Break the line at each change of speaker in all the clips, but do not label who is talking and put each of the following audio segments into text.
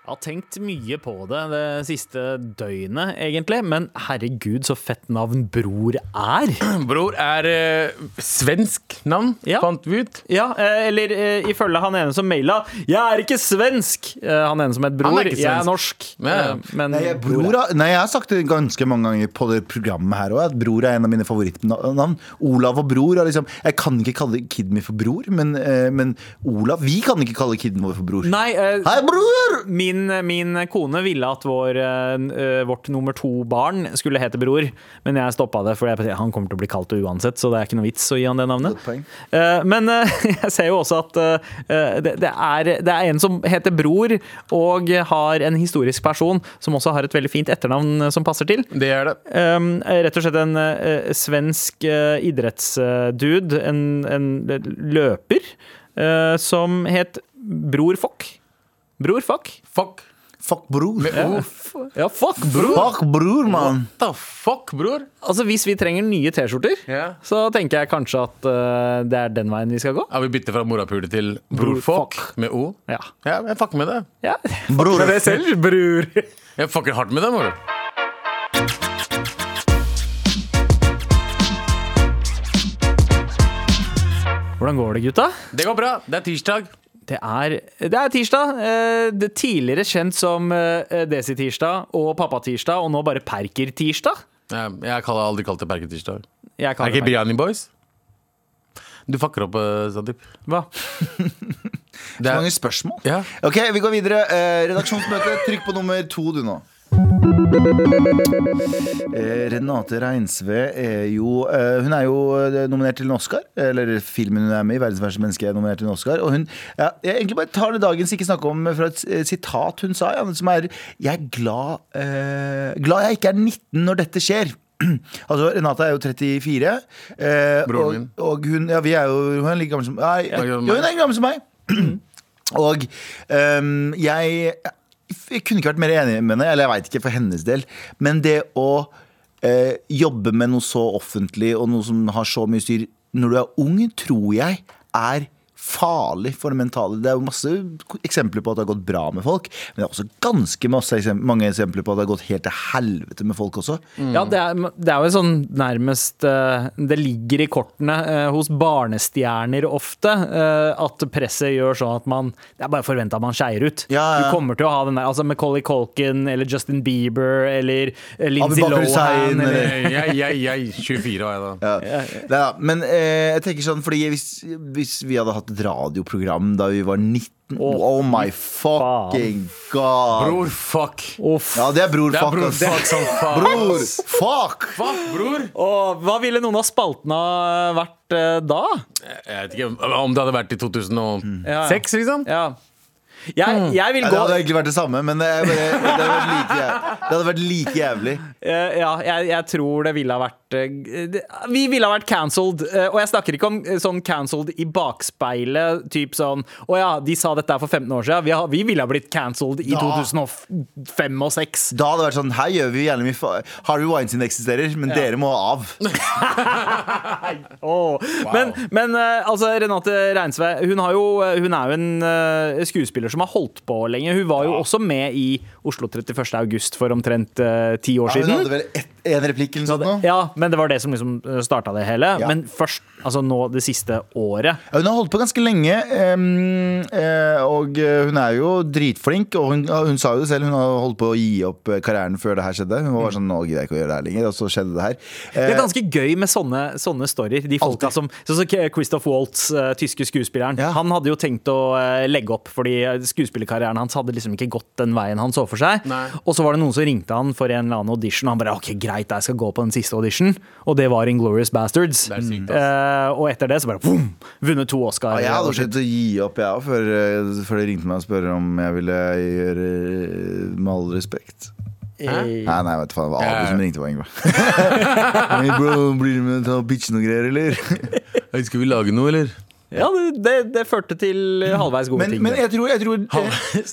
Jeg har tenkt mye på det det siste døgnet, egentlig. Men herregud, så fett navn Bror er.
Bror er eh, svensk navn,
Ja.
fant vi ut.
Ja, eh, eller eh, ifølge han ene som maila 'Jeg er ikke svensk'. Eh, Han ene som het Bror.
Han er ikke
Jeg er
svensk.
norsk.
Ja.
Eh, Men
Nei, jeg, bror, er- nei, jeg har sagt det ganske mange ganger på det programmet her også, at bror er en av mine favorittnavn. Olav og bror er liksom Jeg kan ikke kalle kiden min for bror, men, eh, men Olav Vi kan ikke kalle kiden vår for bror.
Nei, eh,
Hei, bror!
Min, min kone ville at vår, eh, vårt nummer to barn skulle hete Bror, men jeg stoppa det, for jeg- han kommer til å bli kalt det uansett, så det er ikke noe vits å gi han det navnet.
Godt poeng.
Eh, Men eh, jeg ser jo også at eh, det, det, er, det er en som heter Bror, og har en historisk person som også har et veldig fint etternavn eh, som passer til.
Det er det.
Um, rett og slett en eh, svensk eh, idrettsdude, en, en løper, eh, som het Bror Fock. Bror Fock.
Fuck.
Fuck bror.
Med O.
Ja, fuck, bror!
Fuck bror, mann.
What the fuck, bror?
Altså, hvis vi trenger nye T-skjorter,
Ja.
så tenker jeg kanskje at eh, det er den veien vi skal gå.
Ja, vi bytter fra morapule til
Bror, fuck.
brorfuck med O.
Ja.
Ja, jeg fucker med det.
ja.
Bror.
selv, bror.
Jeg fucker hardt med det, bror.
Hvordan går det, gutta?
Det går bra. Det er tirsdag.
Det er, det er tirsdag. eh, Det tidligere kjent som eh, Desi-tirsdag og Pappa-tirsdag, og nå bare Perker-tirsdag.
Ja, Jeg har kalt- aldri kalt det Perker-tirsdag.
Jeg
Er
kaller
ikke
det
Biryani Boys? Du fucker opp, eh, Sandeep.
Perker. Hva?
Det
Så
er-
mange spørsmål.
Ja.
Ok, vi går videre. Eh, redaksjonsmøte, trykk på nummer to du nå. Eh, Renate Reinsve er jo eh, Hun er jo eh, nominert til en Oscar. Eller filmen hun er med i, 'Verdens verste menneske', er nominert til en Oscar. Og hun ja, Jeg egentlig bare tar det dagens ikke snakke om fra et eh, sitat hun sa, ja, som er 'Jeg er glad, eh, glad jeg ikke er 19 når dette skjer'. Altså, Renate er jo 34. eh,
Broren
og,
min.
og hun, ja, vi er jo, hun er like gammel som Nei,
Ja.
jo, hun er like gammel som meg. Og øhm, jeg, jeg kunne ikke vært mer enig med henne, eller jeg veit ikke for hennes del, men det å eh, jobbe med noe så offentlig og noe som har så mye styr når du er ung, tror jeg er farlig for det mentale. Det er jo masse eksempler på at det har gått bra med folk, men det er også ganske masse eksempler, mange eksempler på at det har gått helt til helvete med folk også.
Ja, det er, det er jo sånn nærmest eh, Det ligger i kortene eh, hos barnestjerner ofte eh, at presset gjør sånn at man Det er bare forventa at man skeier ut.
Ja, ja.
Du kommer til å ha den der altså Macauley Colkin eller Justin Bieber eller eh, Lindsay
Bakr Hussein,
Lohan. Eller,
eller-
Jeg, jeg, jeg, jeg 24 var jeg da.
Ja. Neida, men eh, jeg tenker sånn, fordi hvis, hvis vi hadde hatt et radioprogram da vi var 19 Oh my fucking god!
Bror, fuck.
uff.
Ja, det er bror,
Det er
fuck.
bror,
ass.
fuck som faen.
Bror, fuck!
Fuck, bror.
Og hva ville noen av spaltene ha vært eh, da?
Jeg vet ikke om det hadde vært i 2006, liksom.
Ja. Jeg, jeg vil
Ja, Hmm. det
gå
hadde egentlig vært det samme, men det, er bare, det, hadde, vært like, jæv- det hadde vært like jævlig.
Eh, ja, jeg, jeg tror det ville ha vært eh, det- Vi ville ha vært cancelled. eh, og jeg snakker ikke om eh, sånn cancelled i bakspeilet. Typ sånn Å ja, de sa dette her for 15 år siden. Vi, har, vi ville ha blitt cancelled i
Ja.
2005 og 2006.
Da hadde det vært sånn Her gjør vi gjerne mye fa Harvey Weinstein eksisterer, men dere må av.
Åh. Men, men eh, altså, Renate Reinsve hun, har jo, hun er jo en eh, skuespiller som har holdt på lenge. Hun var jo også med i Oslo 31. august for omtrent eh, ti år
Ja, hun
siden.
hadde vel ett- en replikk eller noe sånt nå.
Ja, men det var det som liksom starta det hele.
Ja.
Men først, altså nå det siste året.
Ja, Hun har holdt på ganske lenge, em, eh, og eh, hun er jo dritflink. Og hun, ja, hun sa jo det selv, hun har holdt på å gi opp eh, karrieren før det her skjedde. Hun var bare sånn, nå gidder jeg ikke å gjøre det her lenger, og så skjedde det her.
Det er
Eh,
ganske gøy med sånne, sånne storyer. De folka som, sånn som K- Christoph Waltz, eh, tyske skuespilleren.
Ja.
Han hadde jo tenkt å eh, legge opp, fordi eh, skuespillerkarrieren hans hadde liksom ikke gått den veien han så for seg.
Nei.
Og så var det noen som ringte han for en eller annen audition, og han bare OK, greit, jeg skal gå på den siste audition. Og det var Inglorious Bastards.
Det er sykt, ass.
Eh, og etter det så bare boom! Vunnet to Oscar.
Ah, ja, jeg hadde
Og
også
shit.
tenkt å gi opp, jeg òg, før, eh, før de ringte meg og spurte om jeg ville gjøre eh, Med all respekt.
Eh,
Nei, nei, vet du faen, det var
Ja, ja.
Abu som ringte meg, Ingvar. hey bro, blir du med og tar bitchen og greier, eller?
Hey, Skal vi lage noe, eller?
ja, det, det, det førte til halvveis gode
Men,
ting.
men jeg tror, jeg tror eh,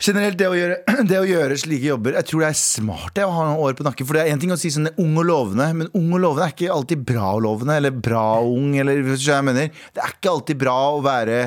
generelt det å, gjøre, det å gjøre slike jobber Jeg tror det er smart det, å ha noen år på nakken. For det er én ting å si sånn ung og lovende, men ung og lovende er ikke alltid bra og lovende. Eller bra og ung, eller hvis du skjønner hva jeg mener. Det er ikke alltid bra å være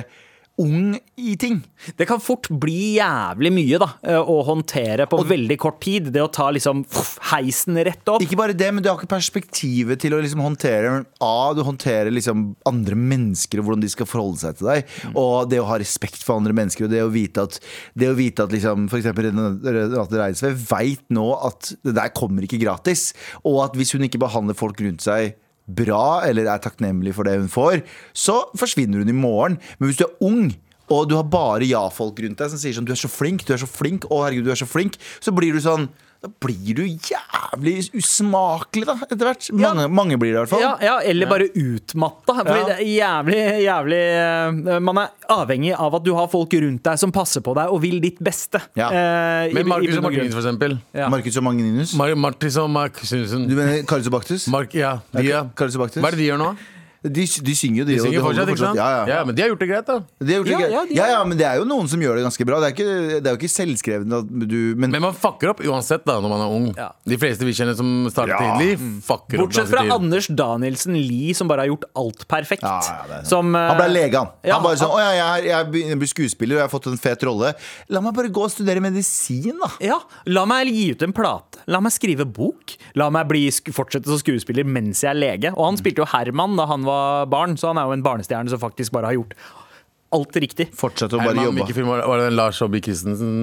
ung i ting.
Det kan fort bli jævlig mye da, eh, å håndtere på veldig kort tid. Det å ta liksom pff, heisen rett opp.
Ikke bare det, men du har ikke perspektivet til å liksom håndtere A, du håndterer liksom andre mennesker og hvordan de skal forholde seg til deg. Og det å ha respekt for andre mennesker, og det å vite at, det å vite at liksom, for eksempel Renate Reinsve veit nå at det der kommer ikke gratis. Og at hvis hun ikke behandler folk rundt seg bra, eller er takknemlig for det hun får, så forsvinner hun i morgen. Men hvis du er ung og du har bare ja-folk rundt deg som sier sånn Du er så flink, du er så flink, å herregud, du er så flink. Så blir du sånn Da blir du jævlig usmakelig, da, etter hvert. Mange, mange blir det, i hvert fall.
Ja, ja, eller bare utmatta. Fordi
Ja.
det er jævlig, jævlig eh, Man er avhengig av at du har folk rundt deg som passer på deg og vil ditt beste.
Ja.
eh, i-
Med
i
Marcus og
bunn og grunn.
Martinus, for eksempel.
Ja.
Markus og Magninus.
Mar Martis og Martinussen.
Du mener Karizobaktus?
Mark, ja, de, ja.
Karizobaktus?
Hva er det de gjør nå?
De, de synger jo, de.
De
og
synger
holder
fortsatt, ikke sant?
Ja, ja.
Men de har gjort det greit, da.
De har gjort det
Ja,
greit.
ja, de-
ja, ja, men det er jo noen som gjør det ganske bra. Det er, ikke, det er jo ikke selvskrevent at du Men,
Men man fucker opp uansett da når man er ung.
Ja.
De fleste vi kjenner som starter
Ja.
tidlig, fucker
Bortsett
opp. ganske
fra
tidlig.
Anders Danielsen Lie, som bare har gjort alt perfekt.
Ja, ja, det er sant.
som, eh,
han ble lege, han.
ja,
han bare sånn, å, ja, jeg, er- jeg begynner å bli skuespiller og jeg har fått en fet rolle. La meg bare gå og studere medisin, da.
Ja, la meg gi ut en plate. La meg skrive bok. La meg bli, sk- fortsette som skuespiller mens jeg er lege. Og
Mm.
han spilte jo Herman da han var barn, så han er jo en barnestjerne som faktisk bare har gjort alt riktig.
Fortsette å
Herman,
bare jobbe.
hvilken film var det? Var det den Lars Saabye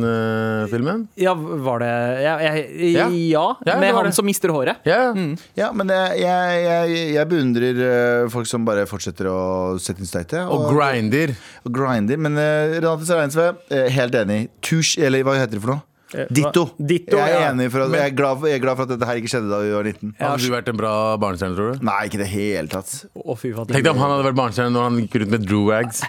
Christensen-filmen?
Ja, var det Ja, jeg, ja,
Ja. Ja, det
med
var
han
det.
som mister håret.
ja.
Ja, men eh, jeg, jeg, jeg, jeg beundrer eh, folk som bare fortsetter å sette inn støyte.
Og Grinder.
og grinder. Men eh, Renate Sørreinsve, eh, helt enig. Touche, eller hva heter det for noe?
Eh, hva-
Ditto.
Ditto,
jeg, er
ja.
enig for at, jeg, er glad, jeg er glad for at dette her ikke skjedde da vi var 19.
Hadde du vært en bra barnestjerne, tror du?
Nei, ikke i det hele tatt.
Å, fy faen.
Tenk deg om han hadde vært barnestjerne når han gikk rundt med Drewags.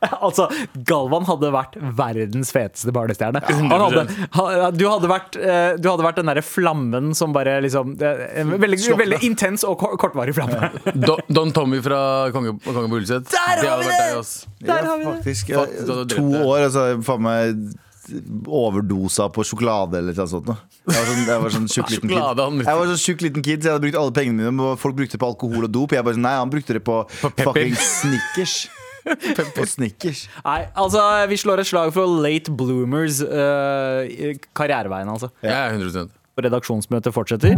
Altså, Galvan hadde vært verdens feteste barnestjerne. Han hadde, ha- du, hadde vært, eh, du hadde vært den derre flammen som bare liksom eh, En veldig,
Slokkna.
veldig intens og ko- kortvarig flamme.
Don, Don Tommy fra Konge, Konge på Ulset.
Der har vi
vært
det!
deg, ass.
Der har vi det!
Faktisk.
Faktisk, du hadde
Jeg,
drept
to
det.
år, altså. Faen meg overdosa på sjokolade eller noe sånt. nå. Jeg var sånn, jeg var sånn tjukk liten
Sjokolade, han
kid.
brukte.
Jeg var sånn tjukk liten kid, så jeg hadde brukt alle pengene mine. og Folk brukte det på alkohol og dop. Jeg bare sånn, Nei, han brukte det på,
Pepper.
fucking Snickers. På Snickers.
Nei, altså, vi slår et slag for late bloomers eh, i karriereveien, altså.
Ja, 100
Redaksjonsmøtet fortsetter.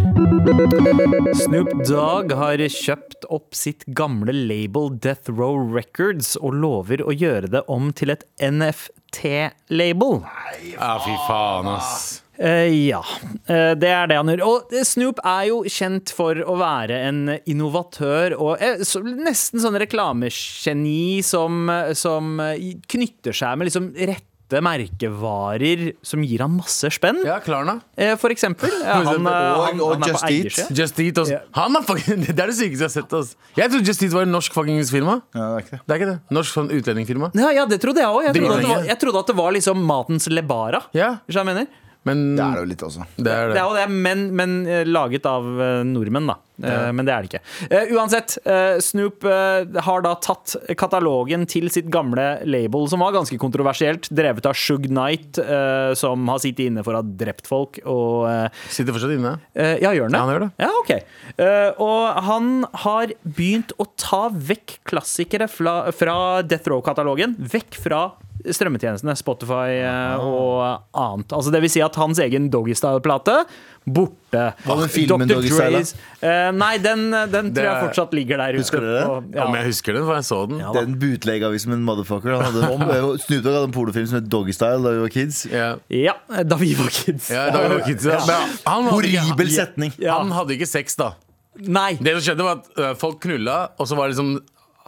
Snoop Dogg har kjøpt opp sitt gamle label Death Row Records og lover å gjøre det om til et NFT-label.
Ja, fy faen, ass.
Eh, ja, Eh, det er det han gjør. Og Snoop er jo kjent for å være en innovatør og eh, så, nesten sånn reklamegeni som, som eh, knytter seg med liksom rette merkevarer som gir han masse spenn.
Ja, Klarna.
Eh, for eksempel. Ja,
For
han,
eksempel.
eh,
Og-
han,
og
han er
Just
på
Eat.
eiersiden.
Just Eat. Ass. Han er fucking, det er det sykeste jeg har sett. Ass. Jeg trodde Just Eat var en norsk fuckings firma.
Ja, det er ikke det.
Det er ikke det. Norsk sånn utlendingfirma.
Ja, ja, det trodde jeg òg. Jeg, trodde at det var-
Dritlenge.
jeg trodde at det var liksom matens lebara.
Ja.
Hvis jeg mener.
Men
Det er det jo litt også.
det er
Det er
det.
jo det, men, men eh, laget av eh, nordmenn, da. Eh, Men det er det ikke. Eh, Uansett, eh, Snoop eh, har da tatt katalogen til sitt gamle label, som var ganske kontroversielt, drevet av Shug Knight, eh, som har sittet inne for å ha drept folk, og eh,
Sitter fortsatt inne.
Eh, ja, gjør han det?
Ja, han gjør det.
Ja, ok. Eh, og han har begynt å ta vekk klassikere fra, fra Death Row-katalogen. Vekk fra strømmetjenestene, Spotify eh, og annet. Altså, det vil si at hans egen Doggystyle-plate borte.
Hva med filmen
Dr.
Doggy Style, da?
Dre's- eh, nei, den, den tror
Det-
jeg fortsatt ligger der ute.
Husker dere det?
på-
Om
Ja.
jeg husker den, for jeg så den.
Ja, da.
Den bootlegga vi som en motherfucker. Han hadde, Snoop Dogg hadde en pornofilm som het Doggystyle da vi var kids.
Ja.
ja, da vi var kids.
Ja, da var kids, ja. Men han,
Horribel
hadde,
setning.
Ja.
han hadde ikke sex, da.
Nei,
Det som skjedde, var at øh, folk knulla, og så var det liksom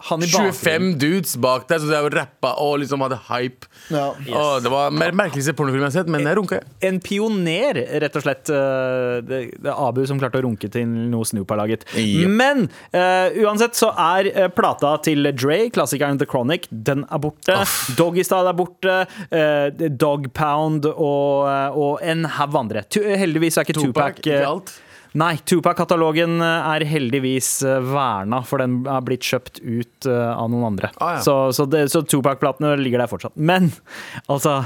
han i bakgrunnen.
25 dudes bak der som drev og rappa og liksom hadde hype.
Ja.
Og det var mer merkeligste pornofilm jeg har sett, men jeg runka.
En pioner, rett og slett. eh, Det, det er Abu som klarte å runke til noe Snoop har laget.
Ja.
Men eh, uansett så er eh, plata til Dre, klassikeren The Chronic, den er borte. Doggystyle er borte. eh, Dog Pound og, og en haug andre. Tu- Heldigvis er ikke
Tupac,
Tupac, eh,
ikke alt.
Nei, Tupac-katalogen er heldigvis eh, verna, for den er blitt kjøpt ut eh, av noen andre.
Ah, ja.
Så, så, det- så Tupac-platene ligger der fortsatt. Men altså,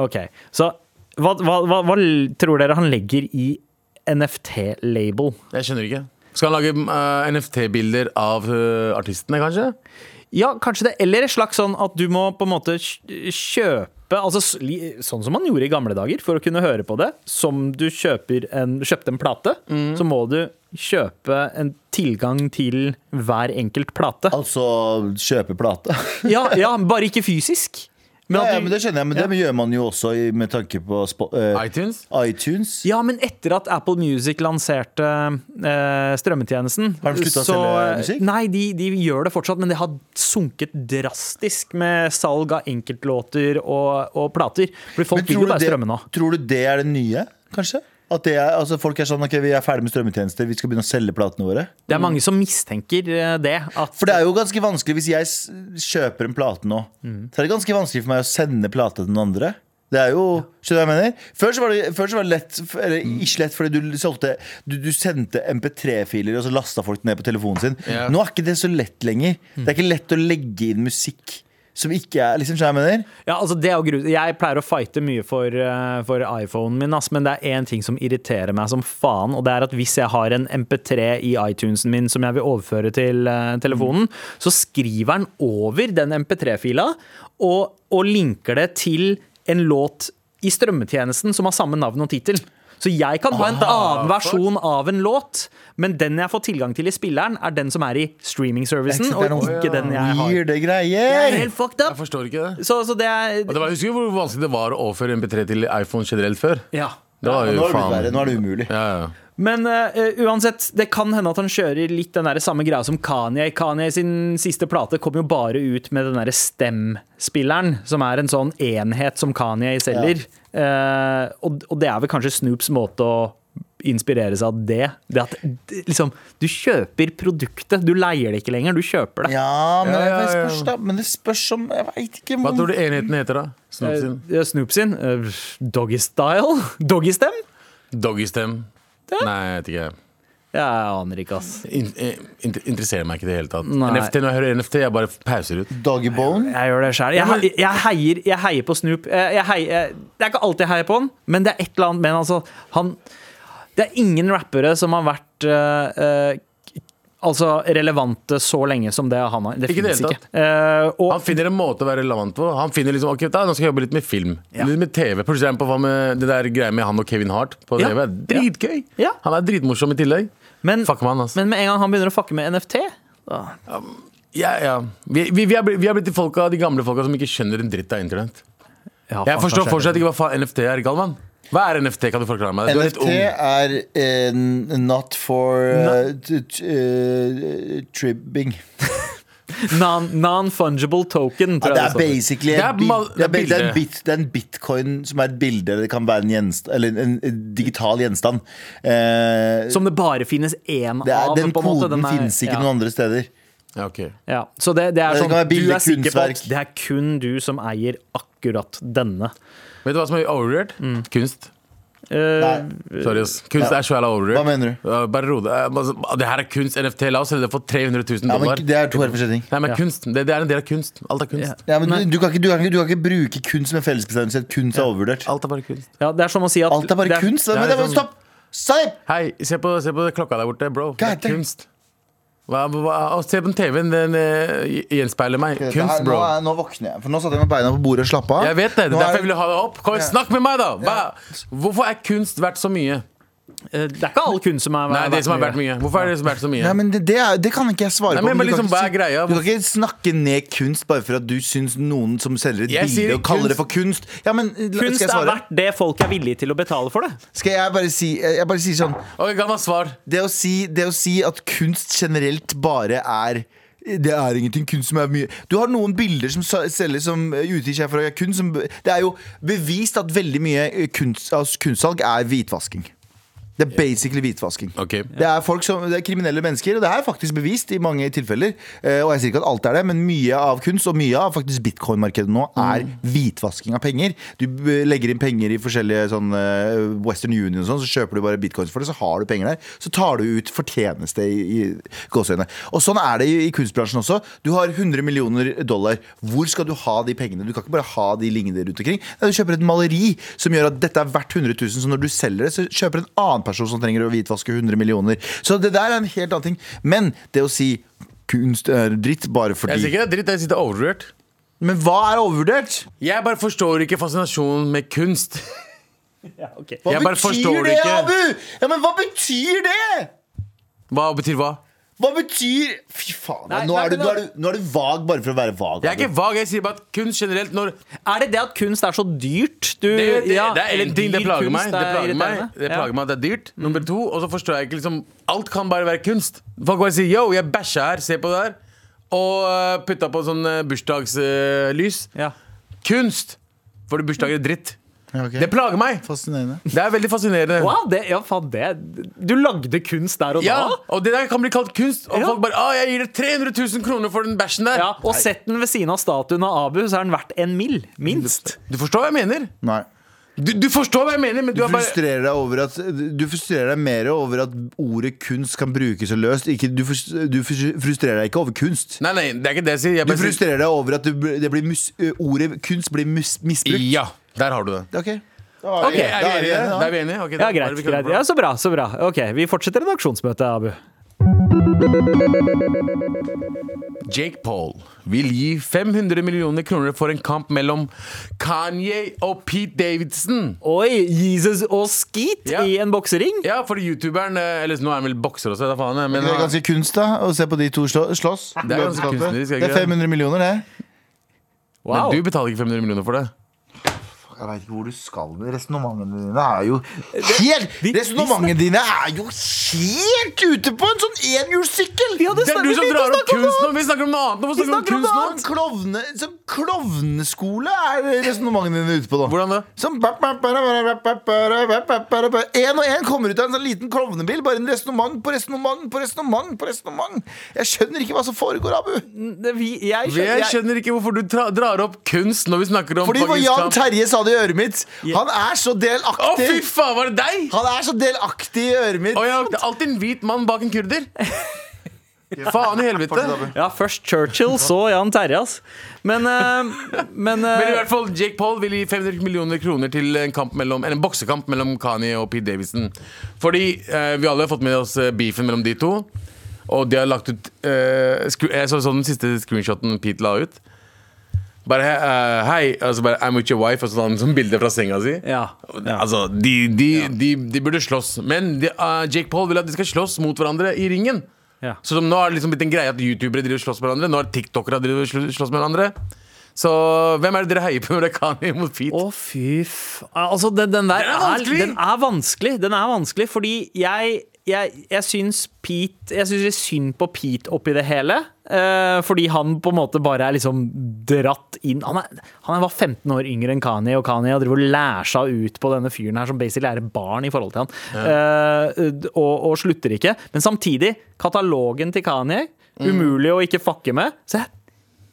OK. Så hva, hva, hva, hva l- tror dere han legger i NFT-label?
Jeg skjønner ikke. Skal han lage eh, NFT-bilder av eh, artistene, kanskje?
Ja, kanskje det. Eller et slags sånn at du må på en måte kj- kjøpe Altså s- li- sånn som man gjorde i gamle dager for å kunne høre på det. Som du kjøper en, kjøpte en plate, så må du kjøpe en tilgang til hver enkelt plate.
Altså kjøpe plate.
Ja, ja bare ikke fysisk. Men
Ja,
at
ja,
du-
men det skjønner jeg, men det gjør man jo også i, med tanke på spo- eh,
iTunes?
iTunes.
Ja, men etter at Apple Music lanserte eh, strømmetjenesten
Har de sluttet å
så-
selge musikk?
Nei, de, de gjør det fortsatt, men det har sunket drastisk med salg av enkeltlåter og, og plater. For folk
Men
vil jo bare
det,
strømme nå.
tror du det er det nye, kanskje? At det er, altså folk er sånn ok, vi er ferdig med strømmetjenester, vi skal begynne å selge platene våre.
Det er mange som mistenker eh, det. At,
Mm. For det er jo ganske vanskelig hvis jeg s- kjøper en plate nå.
Mm.
Så er det ganske vanskelig for meg å sende plate til den andre. Det er jo, skjønner du hva jeg mener? Før så var det, før så var det lett, eller
Mm.
ikke lett, fordi du solgte Du, du sendte MP3-filer, og så lasta folk det ned på telefonen sin.
Ja.
Nå er ikke det så lett lenger.
Mm.
Det er ikke lett å legge inn musikk som ikke er liksom, skjønner du hva jeg mener?
ja, altså, det er jo grus- jeg pleier å fighte mye for, eh, for iPhonen min, ass, men det er én ting som irriterer meg som faen. Og det er at hvis jeg har en MP3 i iTunesen min som jeg vil overføre til eh, telefonen, så skriver den over den MP3-fila og, og linker det til en låt i strømmetjenesten som har samme navn og tittel. Så jeg kan ha en annen versjon av en låt, men den jeg får tilgang til i spilleren, er den som er i streaming-servicen,
Det er
og
noe
ikke den jeg har.
Weirde
Jeg er
greier!
helt fucked
Jeg
up.
forstår ikke det.
Så, så det er
Og det var, husker du hvor vanskelig det var å overføre MP3 til iPhone generelt før?
Ja.
Det var jo
Nå er det blitt verre.
faen
Nå er det umulig.
ja, ja.
Men eh, uansett, det kan hende at han kjører litt den der samme greia som Kanye. Kanye sin siste plate kom jo bare ut med den derre STEM-spilleren, som er en sånn enhet som Kanye selger. Eh, og, og det er vel kanskje Snoops måte å inspirere seg av det. Det at det, liksom Du kjøper produktet, du leier det ikke lenger, du kjøper det.
Ja, men,
Ja, ja,
det
ja.
spørs da Men det spørs om Jeg veit ikke.
Hva
om-
tror du enheten heter, da? Snoop sin?
Eh, Snoop sin eh, Doggy Style? Doggy Stem?
Doggystem? Nei, jeg vet ikke.
Jeg aner ikke, ass.
In in interesserer meg ikke i det hele tatt.
Nei.
NFT, Når jeg hører NFT, jeg bare pauser ut.
Doggybone?
Jeg gjør det sjøl. Jeg, he- jeg, heier- jeg heier på Snoop. Eh, Jeg heier, jeg- det er ikke alltid jeg heier på han, men det er et eller annet med han, altså, han Det er ingen rappere som har vært eh, eh, k- Altså relevante så lenge som det han har. Det
Ikke i det
finnes
hele
ikke. Eh, og
Han finner en måte å være relevant på. Han finner liksom, ok, da, Nå skal jeg jobbe litt med film. Litt med TV. For eksempel hva med det der greia med han og Kevin Hart på
Ja.
TV. Dritgøy!
Ja.
Han er dritmorsom i tillegg.
men,
Fuck med han, altså.
men med en gang han begynner å fucke med NFT da-
Ja, ja. Vi, vi, vi, er, blitt- vi er blitt de, folka, de gamle folka som ikke skjønner en dritt av internett.
ja,
Jeg
faen,
forstår
kanskje
fortsatt ikke hva faen NFT er, Galvan. Hva er NFT? Kan du forklare meg det? Du er litt
NFT
ung.
er eh, not for eh, t- t- eh, tribbing.
non- Non-fungible token,
Ja,
tror jeg
det er
det står.
basically
Det er
en bi-
mal-
det er
det er
bi- det er en
bilde.
bit- det er en bitcoin som er et bilde. eller Det kan være en, gjenstand, eller en, en- en digital gjenstand. Eh,
Som det bare finnes én
det er,
av.
den
på en måte.
koden
er-
finnes ikke
ja.
noen andre steder.
Ja, ok.
Ja, så det, det er
Det
sånn,
kan være
du
bilder,
er sikker på at
kunstverk.
det er kun du som eier akkurat denne.
Vet du hva som er overvurdert?
Mm.
Kunst.
Eh,
Sorry, ass. Kunst er så jævla overvurdert.
Hva mener du?
Ja, Bare ro deg. Eh, altså, Det her er kunst. NFT. La oss selge det for 300 000
Ja,
dollar.
men, det er to helt forskjellige ting.
Nei, men
Ja.
kunst. Det, det er en del av kunst. Alt er kunst.
Ja, men du, du, kan ikke, du, kan ikke, du kan ikke bruke kunst som en fellesbestemmelse. at Kunst er overvurdert.
Alt er bare kunst.
ja, det er som å si at
Alt er bare
det
kunst. da.
det er
Men det er bare,
sånn-
stopp! Stopp!
Hei, se på, se på klokka der borte, bro. Det
God
er
damn.
kunst. Hva, hva, å, se på den TV-en, den eh, gjenspeiler meg.
Det her-
Kunst, bro.
Nå, er, nå våkner jeg, for nå satt jeg med beina på bordet og slappa av.
Jeg vet det. det er
Nå
derfor
er-
jeg ville ha deg opp. Kom, Snakk med meg, da! Hva? Hvorfor er kunst verdt så mye?
Eh, Det er ikke all kunst som er
Nei, det som er verdt mye. Hvorfor er det som er verdt så mye?
Nei, men det, det, er, det kan ikke jeg svare
Nei,
på.
men
du,
liksom,
kan
hva er
ikke, si-
greia?
du kan ikke snakke ned kunst bare for at du syns noen som selger et
Jeg sier
bilde og kaller
kunst-
det for kunst. Ja, men skal
Kunst
jeg
er
svare?
verdt det folk er villige til å betale for det.
Skal jeg bare si Jeg bare sier sånn
Ok, Ga meg svar.
det å, si, det å si at kunst generelt bare er det er ingenting kunst som er mye Du har noen bilder som sa- selger som eh, utgir seg for å være kunst. Som, det er jo bevist at veldig mye eh, kunst, altså kunstsalg er hvitvasking. Det er basically hvitvasking.
Ok.
Det er folk som, det er kriminelle mennesker, og det er faktisk bevist i mange tilfeller. Eh, og jeg sier ikke at alt er det, men mye av kunst og mye av faktisk bitcoin-markedet nå er hvitvasking av penger. Du eh, legger inn penger i forskjellige sånn eh, Western Union og sånn, så kjøper du bare bitcoins for det, så har du penger der. Så tar du ut fortjeneste i, i gåseøynene. Og sånn er det i, i kunstbransjen også. Du har 100 millioner dollar. Hvor skal du ha de pengene? Du kan ikke bare ha de liggende rundt omkring. Nei, du kjøper et maleri som gjør at dette er verdt 100 000, så når du selger det, så kjøper en annen person som trenger å hvitvaske 100 millioner. Så det der er en helt annen ting. Men det å si kunst er dritt bare
Jeg sier
fordi
ikke det er dritt, jeg sier det er overvurdert.
Men hva er overvurdert?
Jeg bare forstår ikke fascinasjonen med kunst.
Hva
Jeg bare forstår det ikke.
Abu? Ja, men hva betyr det?
Hva betyr hva?
Hva betyr Fy faen,
Nei,
nå,
nei,
er du,
men
nå, er du, nå er du vag bare for å være vag.
Jeg er
Abu.
ikke vag, jeg sier bare at kunst generelt når
Er det det at kunst er så dyrt? Du,
Det, det,
ja,
det er
eller
en ting det
dyr
plager
kunst
meg. Det
er
plager meg,
irriterende?
det
Ja.
plager meg at det er dyrt. Nummer to. Og så forstår jeg ikke liksom Alt kan bare være kunst. Folk bare sier yo, jeg bæsja her, se på det her. Og øh, putta på sånn bursdagslys.
Ja.
Kunst! Fordi bursdager er dritt.
Ja, ok.
Det plager meg!
Fascinerende.
Det er veldig fascinerende.
Wow, det, ja, faen, det Du lagde kunst der og
Ja,
da?
og det der kan bli kalt kunst. Og
Ja.
folk bare ah, 'Jeg gir deg 300 000 kroner for den bæsjen der'.
Ja, og sett den ved siden av statuen av Abu, så er den verdt en mill. Minst.
Du forstår hva jeg mener?
Nei.
Du, du forstår hva jeg mener, men du,
Du
er bare
frustrerer, deg over at, du frustrerer deg mer over at ordet kunst kan brukes så løst. Ikke, du, frus- du frus- frustrerer deg ikke over kunst.
Nei, nei, det er ikke det jeg sier. Jeg
Du
bare sier
frustrerer deg over at du, bl- det blir mus, ø, ordet kunst blir mus, misbrukt.
Ja, der har du det.
Ok.
Ok,
Ok, er vi enige? Da
Da er vi enige, da.
er vi enige. Ok, da
Ja,
er
greit.
vi
greit. Ja, Så bra. så bra Ok, Vi fortsetter redaksjonsmøtet, Abu.
Jake Paul vil gi 500 millioner kroner for en kamp mellom Kanye og Pete Davidson.
Oi, Jesus og Skeet
Ja.
i en boksering?
Ja, for youtuberen eh, Eller nå er han vel bokser også, da faen. jeg, Men
Det er
han,
ganske kunst, da, å se på de to slå, slåss.
Det er ganske kunstnerisk, er
Det
ikke
er
det?
500 millioner, det.
Wow.
men du betaler ikke 500 millioner for det.
Jeg veit ikke hvor du skal med resonnementene dine. er jo helt
vi- vi
Resonnementene dine er jo helt ute på en sånn enhjulssykkel!
Vi hadde
Det er
snakket
du som
litt
drar
om
opp kunst nå! Vi snakker om noe annet. nå, Hvorfor
Vi
snakker vi om
snakker om
kunst nå?
Som Klovne, som klovneskole er resonnementene dine ute på nå.
Hvordan da?
Som bap, bap, bap, bap, bap, bap, bap, bap, bap, bap. En og en kommer ut av en sånn liten klovnebil. Bare en resonnement på resonnement på resonnement. på resonnement Jeg skjønner ikke hva som foregår,
Mm,
Abu.
Det- Vi, jeg skjønner,
Jeg
jeg,
skjønner ikke hvorfor du tra- drar opp kunst når vi snakker om
Fordi hva
fucking
Jan
kamp.
Terje sa det i øret mitt. Han er så
Å, fy
delaktig.
faen, var det deg?
Han er så delaktig i øret mitt.
Å ja, det er alltid en hvit mann bak en kurder. Faen i helvete.
Fortsett, Abu.
ja, først Churchill, så Jan Terje, ass. Men, eh, men, eh,
Men i hvert fall, Jake Paul vil gi 500 millioner kroner til en, kamp mellom, eller en boksekamp mellom Kanye og Pete Davidson. Fordi eh, vi alle har fått med oss eh, beefen mellom de to. Og de har lagt ut eh, skru- Jeg så, så den siste screenshoten Pete la ut. Bare eh, 'hei', og så bare 'I'm with your wife', og sånn, sånn bilde fra senga si.
Ja.
Altså, de, de, de, de burde slåss. Men de, eh, Jake Paul vil at de skal slåss mot hverandre i ringen.
Ja.
Så som nå har det liksom blitt en greie at youtubere driver og slåss med hverandre. Nå har tiktokere driver og slå- slåss med hverandre. Så hvem er det dere heier på når det er Kanye mot Pete?
Å, fy f... Altså, den, den der den
Den er vanskelig!
er vanskelig. Den er vanskelig fordi jeg, jeg, jeg syns Pete Jeg syns litt synd på Pete oppi det hele. eh, fordi han på en måte bare er liksom dratt inn Han, er, han var 15 år yngre enn Kani, og Kani har drevet og lært seg ut på denne fyren her som basically er et barn i forhold til han. Eh, og, og slutter ikke. Men samtidig, katalogen til Kani
Mm.
umulig å ikke fucke med. Så jeg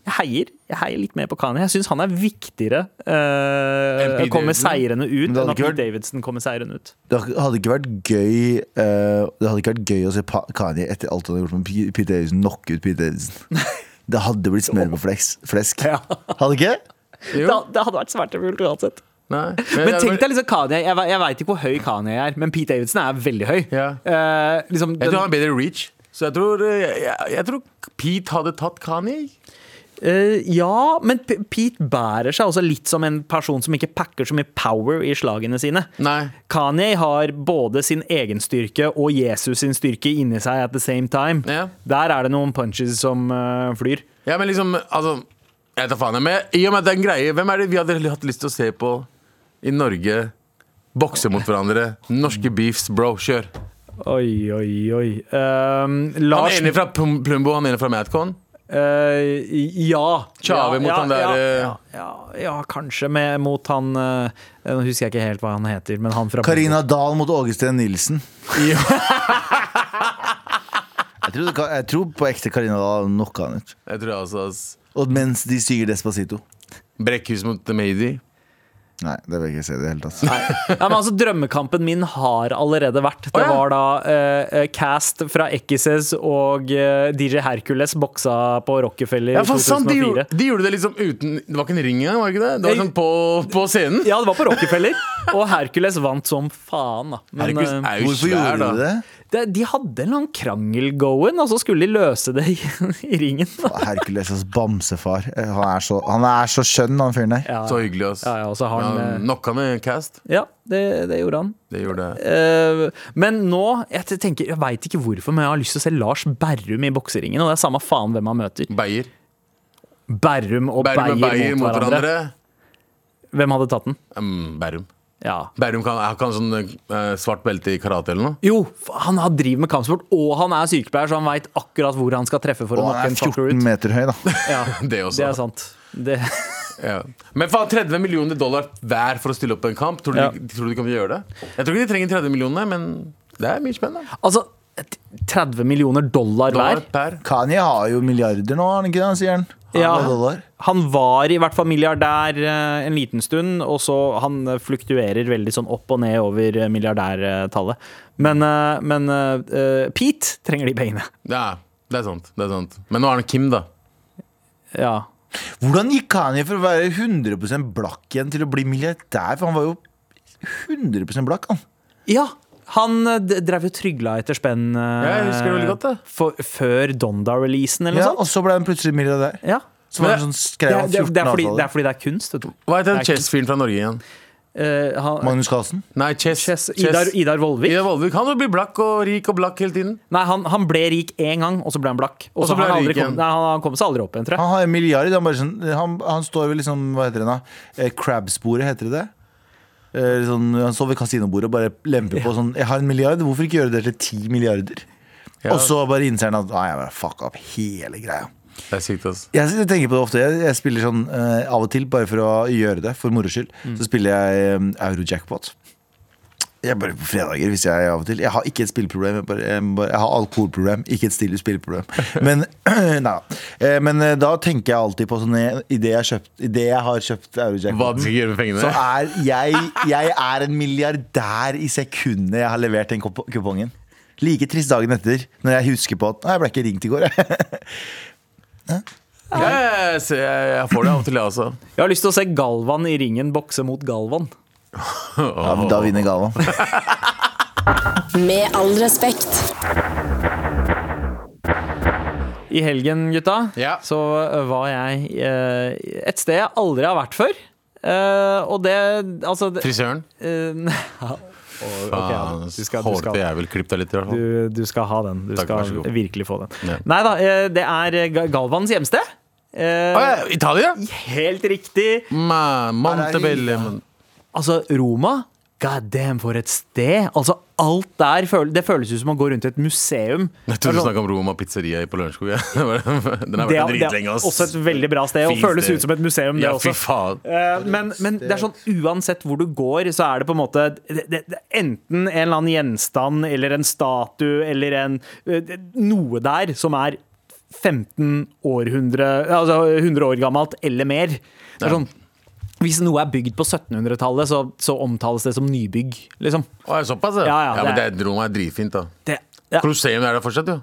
jeg heier, jeg heier litt mer på Kanye. Jeg syns han er viktigere
Enn
uh,
Pete
kommer
Davidson?
seirende ut
det
enn
hadde
at
ikke
Pete Davidson kommer seirende ut.
Det hadde ikke vært gøy eh, Det hadde ikke vært gøy å se Pa- Kanye etter alt han har gjort med P- Pete Davidson, knocke ut Pete Davidson. Det hadde blitt smør på flesk. flesk.
Ja.
Hadde ikke?
Det, det hadde vært svært kult uansett.
Nei.
Men tenk deg liksom Kanye. Jeg, ve- jeg veit ikke hvor høy Kanye er, men Pete Davidson er veldig høy.
Ja.
Eh, liksom,
Jeg
den,
tror han har bedre reach. Så jeg tror, eh, jeg, jeg tror Pete hadde tatt Kanye.
eh, ja, men P Pete bærer seg også litt som en person som ikke packer så mye power i slagene sine.
Nei.
Kanye har både sin egen styrke og Jesus sin styrke inni seg at the same time.
Ja.
Der er det noen punches som eh, flyr.
Ja, men liksom, altså Jeg tar faen jeg, men I og med at det er en greie, hvem er det vi hadde hatt lyst til å se på i Norge? Bokse mot hverandre. Norske beefs, bro. Kjør.
Oi, oi, oi. Ehm,
Han
Lars
ene fra Plum- Plumbo, han ene fra Madcon.
Eh, ja.
Tjave
ja,
mot
ja,
han der,
ja,
eh,
ja, ja, ja, kanskje med, mot han eh, Nå husker jeg ikke helt hva han heter, men han fra
Karina Dahl mot Ågesten Nilsen. jeg, tror det, kan- jeg tror på ekte Karina Dahl knocka han ut.
Jeg tror jeg også ass.
Og mens de synger Despacito.
Brekkhus mot Mady.
Nei, det vil jeg ikke se i det hele tatt.
Ja, men altså, Drømmekampen min har allerede vært. Det
Å, ja.
var da eh, eh, Cast fra Ekises og eh, DJ Hercules boksa på Rockefeller i
Ja, for sant, de,
2004.
gjorde, de gjorde det liksom uten Det var ikke en ring engang, var det ikke det? Det var
Nei.
sånn på, på scenen.
Ja, det var på Rockefeller, og Hercules vant som faen. da Men,
Hercules
eh,
er jo
Hvorfor
svær,
gjorde
da.
du det?
det, De hadde en eller annen krangel going, og så skulle de løse det i, i ringen. da.
Hercules altså, bamsefar. Eh, Han er så, han er så skjønn, han fyren der.
Ja,
Så hyggelig, ass.
Ja, ja, og så har han, eh,
han Knocka med Cast.
ja det, det gjorde han.
Det gjorde det.
Eh, men nå, jeg tenker, jeg veit ikke hvorfor, men jeg har lyst til å se Lars Berrum i bokseringen. Og det er samme faen hvem han møter.
Beyer.
Berrum og Beyer,
Bærum og Beyer
mot, hverandre. Hvem hadde tatt den?
Mm, Bærum.
Ja.
Bærum kan, har ikke han sånn eh, svart belte i karate eller noe?
Jo, f- han har driv med kampsport, og han er sykepleier, så han veit akkurat hvor han skal treffe for å
Og
knocke en
han er
fucker
14
ut.
meter høy, da.
Ja,
Det også.
det er sant. Det,
Ja. Men faen, 30 millioner dollar hver for å stille opp på en kamp. Tror du,
Ja.
de, tror du de kommer til å gjøre det? Jeg tror ikke de trenger 30 millioner, men det er mye spennende.
altså, 30 millioner dollar hver.
Dollar per.
Kanye har jo milliarder nå, har han ikke det? han Sier han. Han
Ja.
har dollar.
Han var i hvert fall milliardær eh, en liten stund, og så han eh, fluktuerer veldig sånn opp og ned over eh, milliardærtallet. Men, eh, men eh, eh, Pete trenger de pengene.
Ja, det er sant. Det er sant. Men nå er det Kim, da.
Ja.
Hvordan gikk Kanye fra å være 100 blakk igjen til å bli milliardær? For han var jo 100 blakk, han.
ja. Han eh, d- drev jo trygla etter spenn eh,
Ja, jeg husker det veldig godt, det.
for, før Donda-releasen eller
Ja,
noe sånt.
og så ble han plutselig milliardær.
Ja.
Så
Men
var det
det-
sånn skrev han
det, er- det,
14
er fordi, det er
avtaler.
fordi det er kunst, vet du.
Hva heter
Det
den
er ikke-
chess-fyren fra Norge igjen?
Eh, han,
Magnus Carlsen.
Nei, chess.
Chess,
Chess.
Idar, Idar Vollvik.
Idar Vollvik. Han blir blakk og rik og blakk hele tiden.
Nei, han, han ble rik én gang, og så ble han blakk. Og
Og
så
så ble
har han
han
aldri
rik
kom,
igjen.
nei, han, han kom seg aldri opp igjen, tror jeg.
Han har en milliard. Han, bare sånn, han, han står ved liksom, hva heter det da? Eh, Crab-sporet, heter det det? Eh, sånn, han står ved kasinobordet og bare lemper på sånn Jeg har en milliard, hvorfor ikke gjøre det til ti milliarder? Og så bare innser han at Nei, jeg bare fuck up hele greia.
Det er sykt, ass.
Jeg sitter og tenker på det ofte. Jeg, jeg spiller sånn eh, av og til, bare for å gjøre det, for moro skyld.
Mm.
Så spiller jeg um, Eurojackpot. Jeg bare på fredager, hvis jeg av og til. Jeg har ikke et spilleproblem. Jeg, bare, jeg, bare, jeg har alkoholproblem, ikke et stille spilleproblem. Men, nei, da. Eh, Men eh, da tenker jeg alltid på sånne Idet jeg, har kjøpt- i det jeg har kjøpt
Hva
Eurojackpot,
du skal gjøre med
så
pengene?
er jeg, jeg er en milliardær i sekundet jeg har levert den kup- kupongen. Like trist dagen etter, når jeg husker på at Nei, jeg ble ikke ringt i går, jeg.
Ja, jeg, jeg, jeg får det av og til, jeg også.
Jeg har lyst til å se Galvan i ringen bokse mot Galvan.
Ja, men da vinner gava.
Med all respekt.
I helgen, gutta,
Ja.
så øh, var jeg øh, et sted jeg aldri har vært før. Eh, og det Altså det,
Frisøren.
eh, ja. ok, ja.
Faen,
Du skal- du skal-
hårete jævel. Klipp deg litt, i hvert fall.
du, du skal ha den. Du
Takk, vær så
skal
god.
virkelig få den.
Ja.
Nei da, eh, det er eh, Ga- Galvans hjemsted. Eh,
Å, ja, Italia?
Helt riktig.
Ma, Montebello mon-
Altså, Roma God damn, for et sted! Altså, alt der føl det føles ut som å gå rundt i et museum.
Jeg trodde du snakka om Roma pizzeria på Lørenskog. ja. Den
Det er,
har vært
det er
dritlenge, ass.
også et veldig bra sted, og
Fint
føles
sted.
ut som et museum, det
Ja, fy
også.
faen.
Eh, Men, men det er sånn uansett hvor du går, så er det på en måte det, det, det, er enten en eller annen gjenstand eller en statue eller en eh, det- noe der som er 15 århundre Altså 100 år gammelt eller mer. Det er sånn hvis noe er bygd på 1700-tallet, så, så omtales det som nybygg. Liksom.
Å, er det såpass, ja.
Ja, ja,
men
det
det er, Roma er dritfint, da.
Det, ja.
Colosseum er der fortsatt, jo.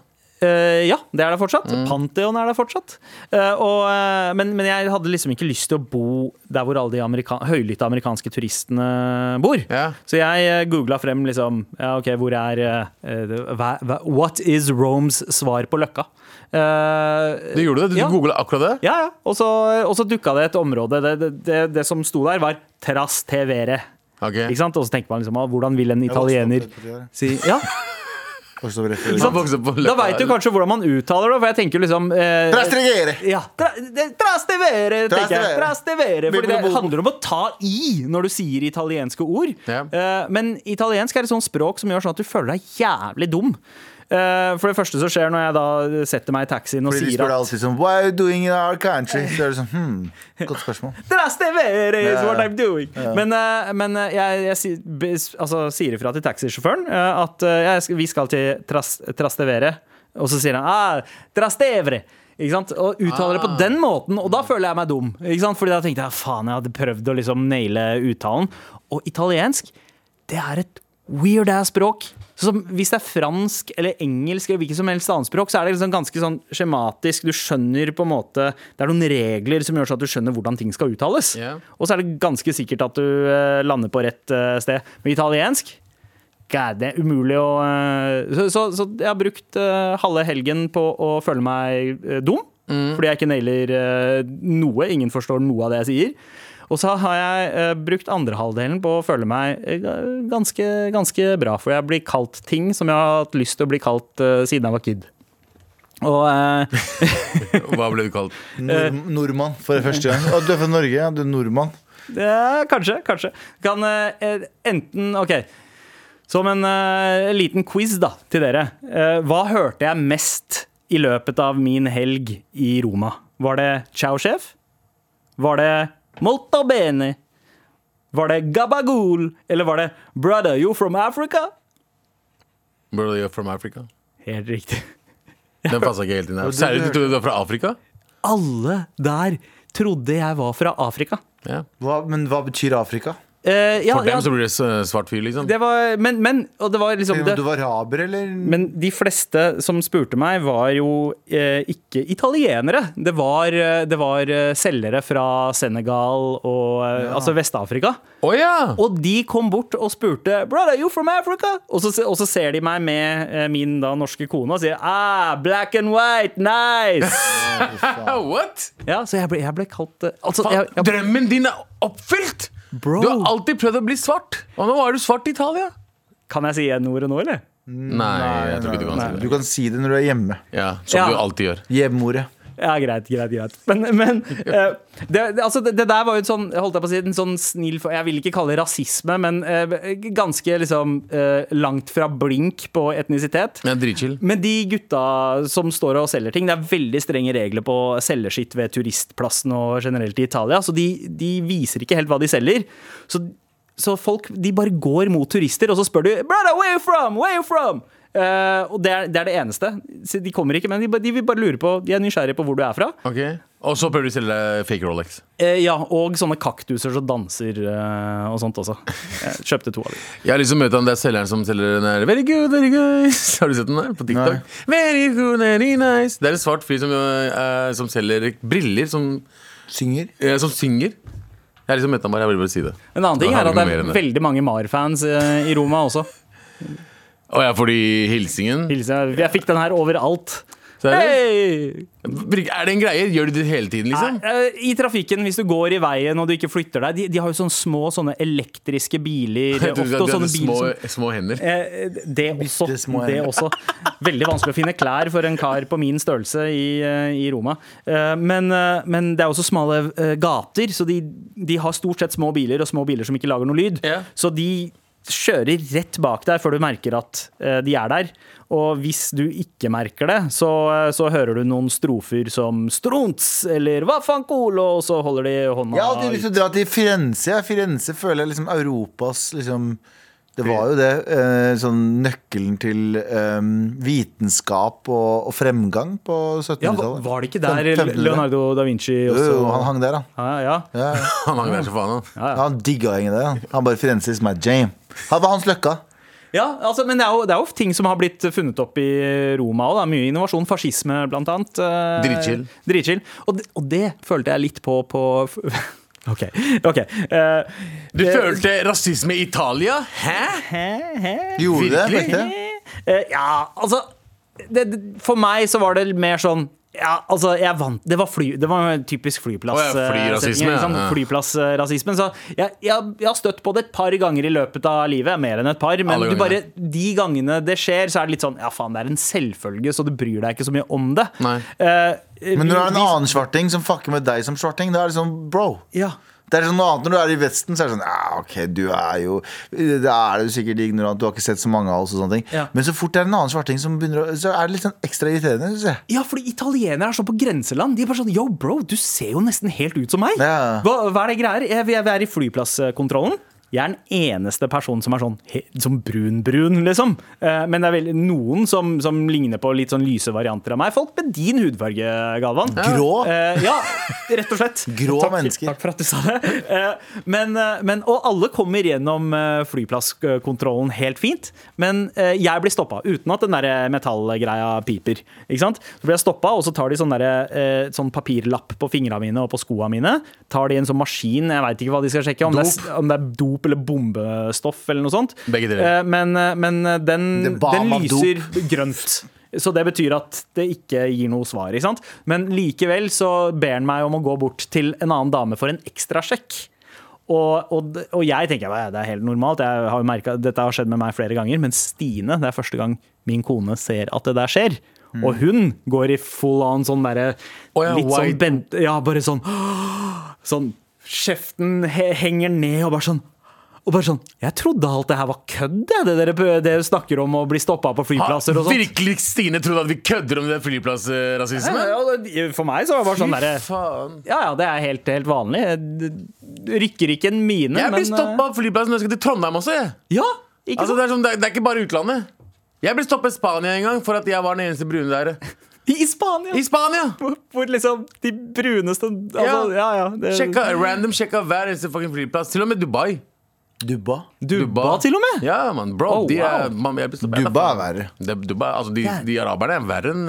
Eh, ja, det er der fortsatt.
Mm.
Pantheon er der fortsatt. Eh, og, eh, men, men jeg hadde liksom ikke lyst til å bo der hvor alle de amerika høylytte amerikanske turistene bor.
Ja.
Så jeg googla frem liksom ja, ok, hvor er eh, det- hva, hva, What is Romes svar på Løkka? Eh,
Du gjorde det? Du
Ja.
googla akkurat det?
ja, ja. Og så, og så dukka det et område. Det, det, det, det som sto der, var Terras Tevere.
Ok.
Ikke sant? Og så tenker man liksom ah, hvordan vil en italiener si ja,
Han vokste opp på
Da
Løkka.
veit du kanskje hvordan man uttaler det, for jeg tenker liksom eh, Ja. Tra, det- trastevere, tenker jeg. Trastevere. Fordi det handler om å ta i når du sier italienske ord.
Ja.
Eh, Men italiensk er et sånt språk som gjør sånn at du føler deg jævlig dum. Eh, Eh, For det første som skjer når jeg da setter meg i taxien og
Fordi de
sier
spør
at
alltid sånn Why are you doing in our country? Så er det sånn hmm, Godt spørsmål.
That's the very is what
Ja.
I'm doing. Men, eh, men eh, jeg, jeg si- be- altså, sier ifra til taxisjåføren eh, at eh, jeg, skal- vi skal til tras, Trastevere, og så sier han ah, Trastevere. Ikke sant? Og uttaler det på den måten, og da føler jeg meg dum. Ikke sant? Fordi da tenkte jeg faen, jeg hadde prøvd å liksom naile uttalen. Og italiensk, det er et weird ass språk. Så som, hvis det er fransk eller engelsk eller hvilket som helst annet språk, så er det liksom ganske sånn skjematisk. Du skjønner på en måte Det er noen regler som gjør så at du skjønner hvordan ting skal uttales.
Ja.
Og så er det ganske sikkert at du eh, lander på rett eh, sted. Men italiensk God, det er umulig å eh, så, så, så jeg har brukt eh, halve helgen på å føle meg eh, dum. Fordi jeg ikke nailer eh, noe. Ingen forstår noe av det jeg sier. Og så har jeg eh, brukt andre halvdelen på å føle meg eh, ga- ganske, ganske bra. For jeg blir kalt ting som jeg har hatt lyst til å bli kalt eh, siden jeg var kid. Og eh,
Hva ble du kalt?
Nord nordmann for første gang. Å, du er fra Norge, ja. Du er nordmann.
Ja, kanskje, kanskje. Kan eh, enten OK. Som en eh, liten quiz da, til dere. Eh, hva hørte jeg mest i løpet av min helg i Roma? Var det Ciao Chef? Var det Molto Bene? Var det Gabagool? Eller var det Brother, you from Africa?
Brother, you're from Africa?
Helt riktig.
Den passa ikke helt inn her.
du-
Særlig du trodde du var fra Afrika?
Alle der trodde jeg var fra Afrika.
Ja.
Hva, men hva betyr Afrika?
Eh, ja,
For
ja,
dem så blir det s- svart fyr, liksom.
det var, men, men, og det var liksom
Om
det,
du var araber, eller?
Men de fleste som spurte meg, var jo eh, ikke italienere. Det var, eh, det var eh, selgere fra Senegal og eh, altså Vest-Afrika.
Å ja!
Og de kom bort og spurte Brother, you from Africa? Og så, og så ser de meg med eh, min da norske kone og sier ah, black and white, nice!
Ah, What?
ja, så jeg ble, jeg ble kalt eh, Altså,
Faen,
jeg, jeg,
Drømmen din er oppfylt!
Bro.
Du har alltid prøvd å bli svart, og nå er du svart i Italia.
kan jeg si n-ordet nå, eller?
Nei, jeg tror ikke du kan si
Du
det.
kan si det når du er hjemme.
Ja, Som
Ja.
du alltid gjør.
Hjemmeordet.
Ja, greit, greit, greit. Men, men eh, det, det, altså, det, det der var jo et sånn, jeg holdt jeg på å si, en sånn snill for- Jeg vil ikke kalle det rasisme, men eh, ganske liksom eh, langt fra blink på etnisitet.
Ja, Dritchill.
Men de gutta som står og selger ting, det er veldig strenge regler på å selge skitt ved turistplassen og generelt i Italia, så de, de viser ikke helt hva de selger. Så, så folk de bare går mot turister, og så spør du 'Brother, where you from? Where you from?' Eh, og det er, det er det eneste. Så de kommer ikke, men de, ba- de vil bare lure på De er nysgjerrige på hvor du er fra.
Ok Og så prøver du å selge deg fake Rolex.
Eh, ja, Og sånne kaktuser som danser eh, og sånt også. Jeg kjøpte to av dem.
Jeg har lyst til å møte han der selgeren som selger den der Very good, very nice Har du sett den der på TikTok?
Nei.
Very good, very nice Det er en svart fyr som, eh, som selger briller, som,
Synger.
eh, som synger. Jeg har lyst til å møte han bare, jeg vil bare si det.
En annen ting
Da
er at
har vi
det
noe mer
er
enn det.
veldig mange MAR-fans eh, i Roma også.
Å ja, fordi hilsingen?
Hilsen, jeg fikk den her overalt.
Seriøst?
Hei!
Er det en greie? Gjør du det hele tiden, liksom?
Nei, eh, I trafikken, hvis du går i veien og du ikke flytter deg De, de har jo sånne små sånne elektriske biler.
Jeg
Ofte,
trodde at
og
du
sånne
hadde små,
biler som,
små hender.
eh, det, også,
Bitte små
det
hender.
også. Veldig vanskelig å finne klær for en kar på min størrelse i, eh, i Roma. Eh, Men, eh, men det er også smale eh, gater, så de, de har stort sett små biler og små biler som ikke lager noe lyd.
Ja.
Så de kjører rett bak deg før du merker at eh, de er der. Og hvis du ikke merker det, så, så hører du noen strofer som Strunz eller Hva faen colo, og så holder de hånda
Jeg har alltid lyst til å dra til Firenze. jeg. Firenze føler jeg liksom Europas liksom det var jo det. eh, Sånn nøkkelen til eh, vitenskap og, og fremgang på
ja,
1700-tallet.
var var det ikke
Fem-
der
1500-tallet?
Leonardo da Vinci
Jo,
også
jo, han hang der, da.
ja, ja.
Ja, ja.
Han hang der som faen, han.
Ja, han digga ingen det. Han, han bare Firenze is my jam. Han var hans løkka.
ja altså, men det er, jo, det er jo ting som har blitt funnet opp i Roma òg. Mye innovasjon. Fascisme, blant annet. eh,
Dritchill.
Dritchill. Og, det- og det følte jeg litt på på OK. ok eh,
Du
det-
følte rasisme i Italia? Hæ?
Hæ? Hæ?
Gjorde det,
Virkelig?
vet du?
Eh, ja, altså det, det- For meg så var det mer sånn ja, altså, jeg vant Det var, fly, det var en typisk flyplass
Å ja, flyrasisme,
eh, setning, ikke sant?
ja.
Flyplassrasismen. Så jeg, jeg, jeg har støtt på det et par ganger i løpet av livet. Mer enn et par. Men
Alle
du bare,
gangene.
de gangene det skjer, så er det litt sånn Ja, faen, det er en selvfølge, så du bryr deg ikke så mye om det.
Nei.
Eh,
Men når det er
vi-
en annen svarting som fucker med deg som svarting, da er det sånn bro.
ja.
Det er sånn noe annet Når du er i Vesten, så er det sånn Ja, ok, du er jo Da er du sikkert ignorant, du har ikke sett så mange av oss og sånne ting.
Ja.
Men så fort det er en annen svarting som begynner å Så er det litt sånn ekstra irriterende, syns jeg.
Ja, fordi italienere er så på grenseland. De er bare sånn Yo, bro, du ser jo nesten helt ut som meg.
Ja.
Hva, hva er det greier? Jeg, vi er- vi er i flyplasskontrollen. Jeg er den eneste personen som er sånn he- som brun-brun, liksom. Eh, Men det er vel noen som, som ligner på litt sånn lyse varianter av meg. Folk med din hudfarge, Galvan.
Grå.
Eh, ja, rett og slett.
Grå
takk,
mennesker.
Takk for at du sa det. Eh, Men, eh, men, og alle kommer gjennom eh, flyplasskontrollen helt fint, men eh, jeg blir stoppa uten at den der eh, metallgreia piper. Ikke sant? Så blir jeg stoppa, og så tar de sånn, derre, eh, sånn papirlapp på fingra mine og på skoa mine. Tar de en sånn maskin, jeg veit ikke hva de skal sjekke, om det, er, om det er dop eller bombestoff eller noe sånt.
Begge deler.
Eh, Men, eh, men eh, den,
Det ba
den
meg dop.
lyser grønt. Så det betyr at det ikke gir noe svar. ikke sant? Men likevel så ber han meg om å gå bort til en annen dame for en ekstra sjekk. Og, og, og jeg tenker "Hva, det er helt normalt, jeg har jo merket, dette har skjedd med meg flere ganger. Men Stine, det er første gang min kone ser at det der skjer. Og hun går i full on sånn derre
Mm. Å ja,
Litt
white-
sånn bent, ja, bare sånn Sånn Kjeften he henger ned og bare sånn og bare sånn, Jeg trodde alt det her var kødd, jeg, det dere prø- det dere snakker om å bli stoppa på flyplasser og sånn.»
Har
sånt.
virkelig Stine trodd at vi kødder om det der flyplassrasisme?
Ja, ja, det- For meg så var det bare sånn derre
faen.
Ja ja, det er helt, helt vanlig. Jeg d- Rykker ikke en mine,
Jeg blir
men,
stoppa av flyplassen når jeg skal til Trondheim også. Jeg.
eh, Ja, ikke
Altså,
sant?
det, er sånn, det, er, det er ikke bare utlandet. Jeg ble stoppet i Spania en gang for at jeg var den eneste brune der.
I Spania!
I Spania!
hvor, hvor liksom de bruneste altså,
Ja.
Ja ja. det,
Sjekka, random sjekka hver eneste fucking flyplass. Til og med Dubai.
Dubba.
Dubba til og med!
Ja, man, bro,
Oh,
de er,
wow.
man, jeg blir stoppet.
Dubba er verre.
Det, Dubai, altså, de, de araberne er verre enn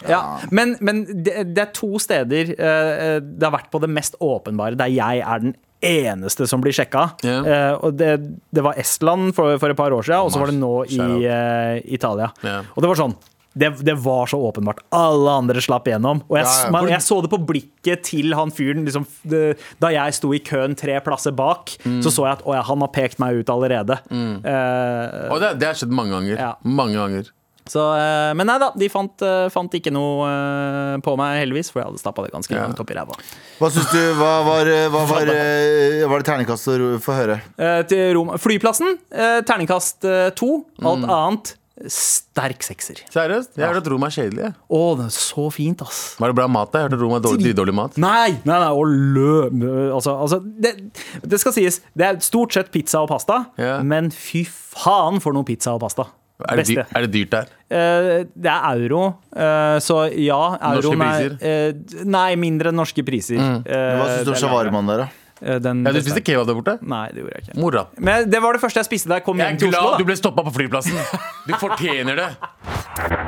eh,
Ja, men, men det, det er to steder eh, det har vært på det mest åpenbare, der jeg er den eneste som blir sjekka.
Ja.
Eh, og det, det var Estland for, for et par år siden, og så var det nå i
Shout out.
eh, Italia.
Ja.
Og det var sånn det, det var så åpenbart. Alle andre slapp gjennom. Og jeg,
Ja, ja.
man, jeg så det på blikket til han fyren. Liksom, det, da jeg sto i køen tre plasser bak,
Mm.
så så jeg at å ja, han har pekt meg ut allerede. Eh,
Og det, det har skjedd mange ganger.
Ja.
Mange ganger.
så, eh, men nei da, de fant, eh, fant ikke noe eh, på meg, heldigvis, for jeg hadde stappa det ganske
Ja.
langt opp i ræva.
Hva syns du Hva var, hva var, eh, var det terningkast å ro- få høre?
Eh, til Roma. Flyplassen, eh, terningkast eh, to. Alt annet, sterk sekser.
Seriøst? Jeg har hørt at Roma er kjedelig. jeg.
Å, det er så fint, ass.
Var det bra mat der? Jeg hørte at Roma er dårlig, dårlig mat.
Nei! nei, nei og lø altså, altså, det, det skal sies, det er stort sett pizza og pasta,
Ja.
men fy faen for noe pizza og pasta.
Er det,
Beste.
dyr, er det dyrt der?
Eh, det er euro, eh, så ja. Euroen er,
priser?
eh, nei, mindre enn norske priser. Eh,
Hva syns du
det er lavere.
om shawarmaen der, da?
Eh, Den
Ja, du spiste kebab der borte?
Nei, det gjorde jeg ikke.
Mora.
Men det var det første jeg spiste da jeg kom
Jeg
hjem
er
til Oslo.
glad du
Da.
ble stoppa på flyplassen. Du fortjener det.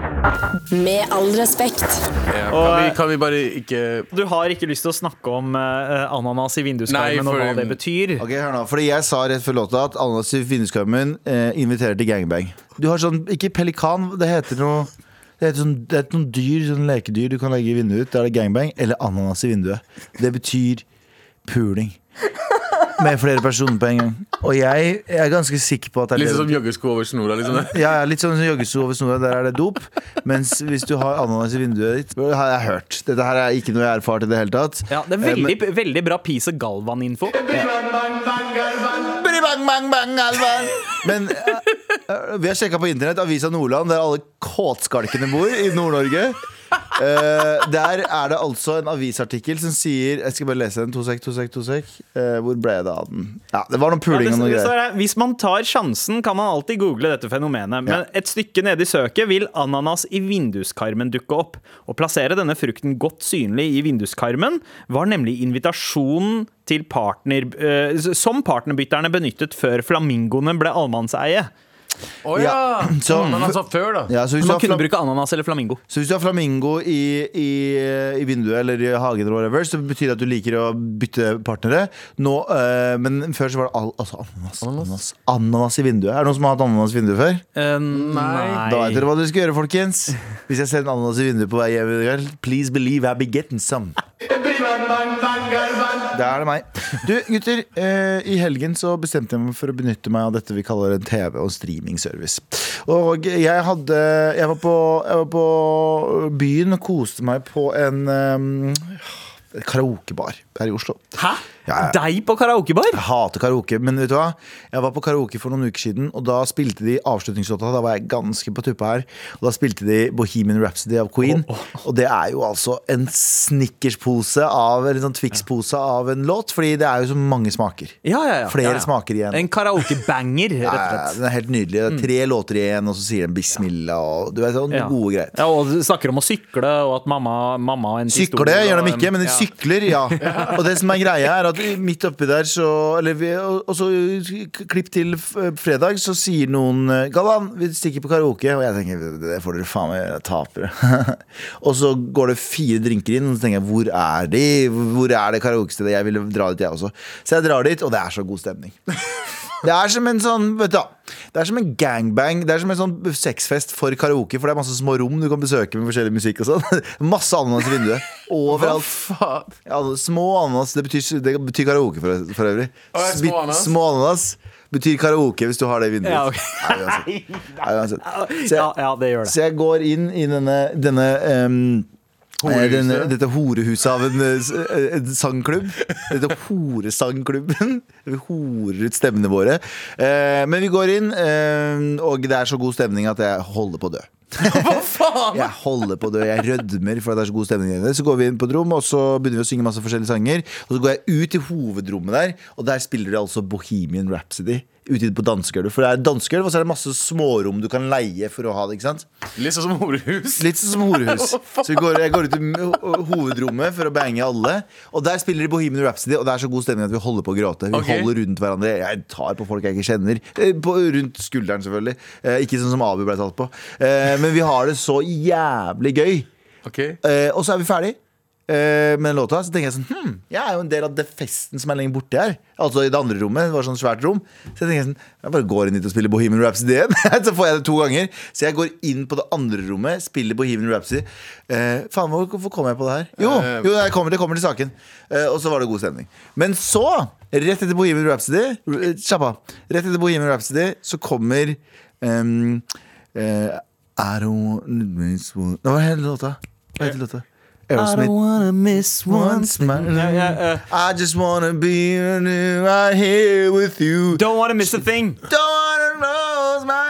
Med all respekt.
Kan vi, kan vi bare ikke
Du har ikke lyst til å snakke om eh, ananas i
Nei,
vinduskarmen
for-
og hva det betyr.
Ok, hør nå, fordi Jeg sa rett før låta at Ananas i vinduskarmen eh, inviterer til gangbang. Du har sånn, Ikke pelikan, det heter noe det heter, sånn, det heter noen dyr, sånn lekedyr du kan legge i vinduet. Da er det gangbang eller ananas i vinduet. Det betyr puling. Med flere personer på en gang. Og jeg, jeg er ganske sikker på at det er
Litt
det
sånn som joggesko over snora, liksom.
Ja, ja, litt sånn som joggesko over snora, der er det dop. Mens hvis du har ananas i vinduet ditt, det har jeg hørt. Dette her er ikke noe jeg har erfart i det hele tatt.
Ja, det er
Eh,
veldig, veldig bra Pise Galvan-info.
Bidi bang, bang, bang, Alvan. Men eh, eh, vi har sjekka på internett Avisa Nordland, der alle kåtskalkene bor i Nord-Norge. Eh, der er det altså en avisartikkel som sier Jeg skal bare lese den. To sek, to sek, to sek. Eh, hvor ble det av den? Ja, det var noe
Ja,
puling
det-
og noe
det står
greier.
her, Hvis man tar sjansen, kan man alltid google dette fenomenet. Men et stykke nede i søket vil ananas i vinduskarmen dukke opp. Å plassere denne frukten godt synlig i vinduskarmen var nemlig invitasjonen til partner, eh, som partnerbytterne benyttet før flamingoene ble allmannseie.
Å ja!
Ja, så-
Men han sa før, da.
Ja, så, hvis du
Man
har
kunne
flam-
bruke ananas eller flamingo.
så hvis du har flamingo i, i, i vinduet eller i hagen, eller whatever, så betyr det at du liker å bytte partnere. Nå, eh, men før så var det al altså, ananas, ananas. ananas i vinduet. Er det noen som har hatt ananas i vinduet før?
Eh,
Da vet dere hva dere skal gjøre, folkens. Hvis jeg ser en ananas i vinduet på vei hjem, i kveld, please believe I be getting some. Da er det meg. Du, gutter. eh, I helgen så bestemte jeg meg for å benytte meg av dette vi kaller en TV- og streamingservice. Og jeg hadde Jeg var på, jeg var på byen og koste meg på en eh, karaokebar her i Oslo.
Hæ?
Ja, ja.
Deg på karaokebar?
Jeg hater karaoke, men vet du hva? Jeg var på karaoke for noen uker siden, og da spilte de avslutningslåta. Da var jeg ganske på tuppa her. Og da spilte de Bohemian Rhapsody av Queen. Og det er jo altså en snickerspose av Eller en sånn Twix-pose av en låt, fordi det er jo så mange smaker.
Ja, ja, ja.
Flere
ja, ja.
smaker igjen.
En karaokebanger, rett og
Ja, ja,
slett. Mm.
Den er helt nydelig. Det er tre låter igjen, og så sier den bismillah og du vet, sånn
Ja.
gode greier.
Ja, og du snakker om å sykle, og at mamma, mamma har en
Sykle gjør de
og-
ikke, men de
ja.
sykler, ja. Og det som er greia, er at midt oppi der så Eller vi, og, og så klipp til f- fredag, så sier noen eh, Galvan, vi stikker på karaoke. Og jeg tenker det får dere faen meg gjøre, tapere. og så går det fire drinker inn, og så tenker jeg hvor er de? Hvor er det karaokestedet? Jeg ville dra dit, jeg også. Så jeg drar dit, og det er så god stemning. Det er som en sånn, vet du da, Det er som en gangbang Det er som en sånn sexfest for karaoke For det er masse små rom du kan besøke med forskjellig musikk og sånn Masse ananas i vinduet Overalt
Faen.
ja, altså, Små ananas, det betyr, det betyr karaoke for, for øvrig
Å, ja, små
Bitt-
ananas.
små ananas betyr karaoke hvis du har det i vinduet
Ja, ok.
Nei, uansett. Nei, uansett. Så,
Ja,
jeg,
ja, det gjør det.
så jeg går inn i denne, denne em, eh,
Horehuset.
denne, dette horehuset av en, eh, s- eh, en sangklubb. Dette horesangklubben. Vi horer ut stemmene våre. Eh, men vi går inn, eh, og det er så god stemning at jeg holder på å dø. Jeg holder på å dø, jeg rødmer fordi det er så god stemning der inne. Så går vi inn på et rom, og så begynner vi å synge masse forskjellige sanger. Og så går jeg ut i hovedrommet der, og der spiller de altså Bohemian Rhapsody. Ute på dansegulvet. For det er dansegulv, og så er det masse smårom du kan leie for å ha det. ikke sant?
Litt sånn som horehus.
Litt sånn som horehus. Så vi går, jeg går ut i ho- hovedrommet for å bange alle. Og der spiller de Bohemian Rhapsody, og det er så god stemning at vi holder på å gråte. Vi
Ok.
holder rundt hverandre. Jeg tar på folk jeg ikke kjenner. Eh, På, rundt skulderen, selvfølgelig. Eh, ikke sånn som Abu ble tatt på. Eh, men vi har det så jævlig gøy.
Ok.
Eh, og så er vi ferdig eh, med den låta. Så tenker jeg sånn Hm, jeg er jo en del av det festen som er lenger borte her. Altså i det andre rommet. Det var sånn svært rom. Så jeg tenker sånn Jeg bare går inn dit og spiller Bohemian Rhapsody igjen. så får jeg det to ganger. Så jeg går inn på det andre rommet, spiller Bohemian Rhapsody. Eh, faen, hvor- hvorfor kom jeg på det her? Jo,
Eh,
jo jeg kommer, det kommer til saken. Eh, og så var det god stemning. Men så, rett etter Bohemian Rhapsody eh, Slapp av. Rett etter Bohemian Rhapsody så kommer ehm, eh, I don't miss one Hva heter låta? Hva heter låta? Aerosmith.
wanna miss
One smile. I just wanna be right here with you.
Don't wanna miss a thing.
Don't wanna close my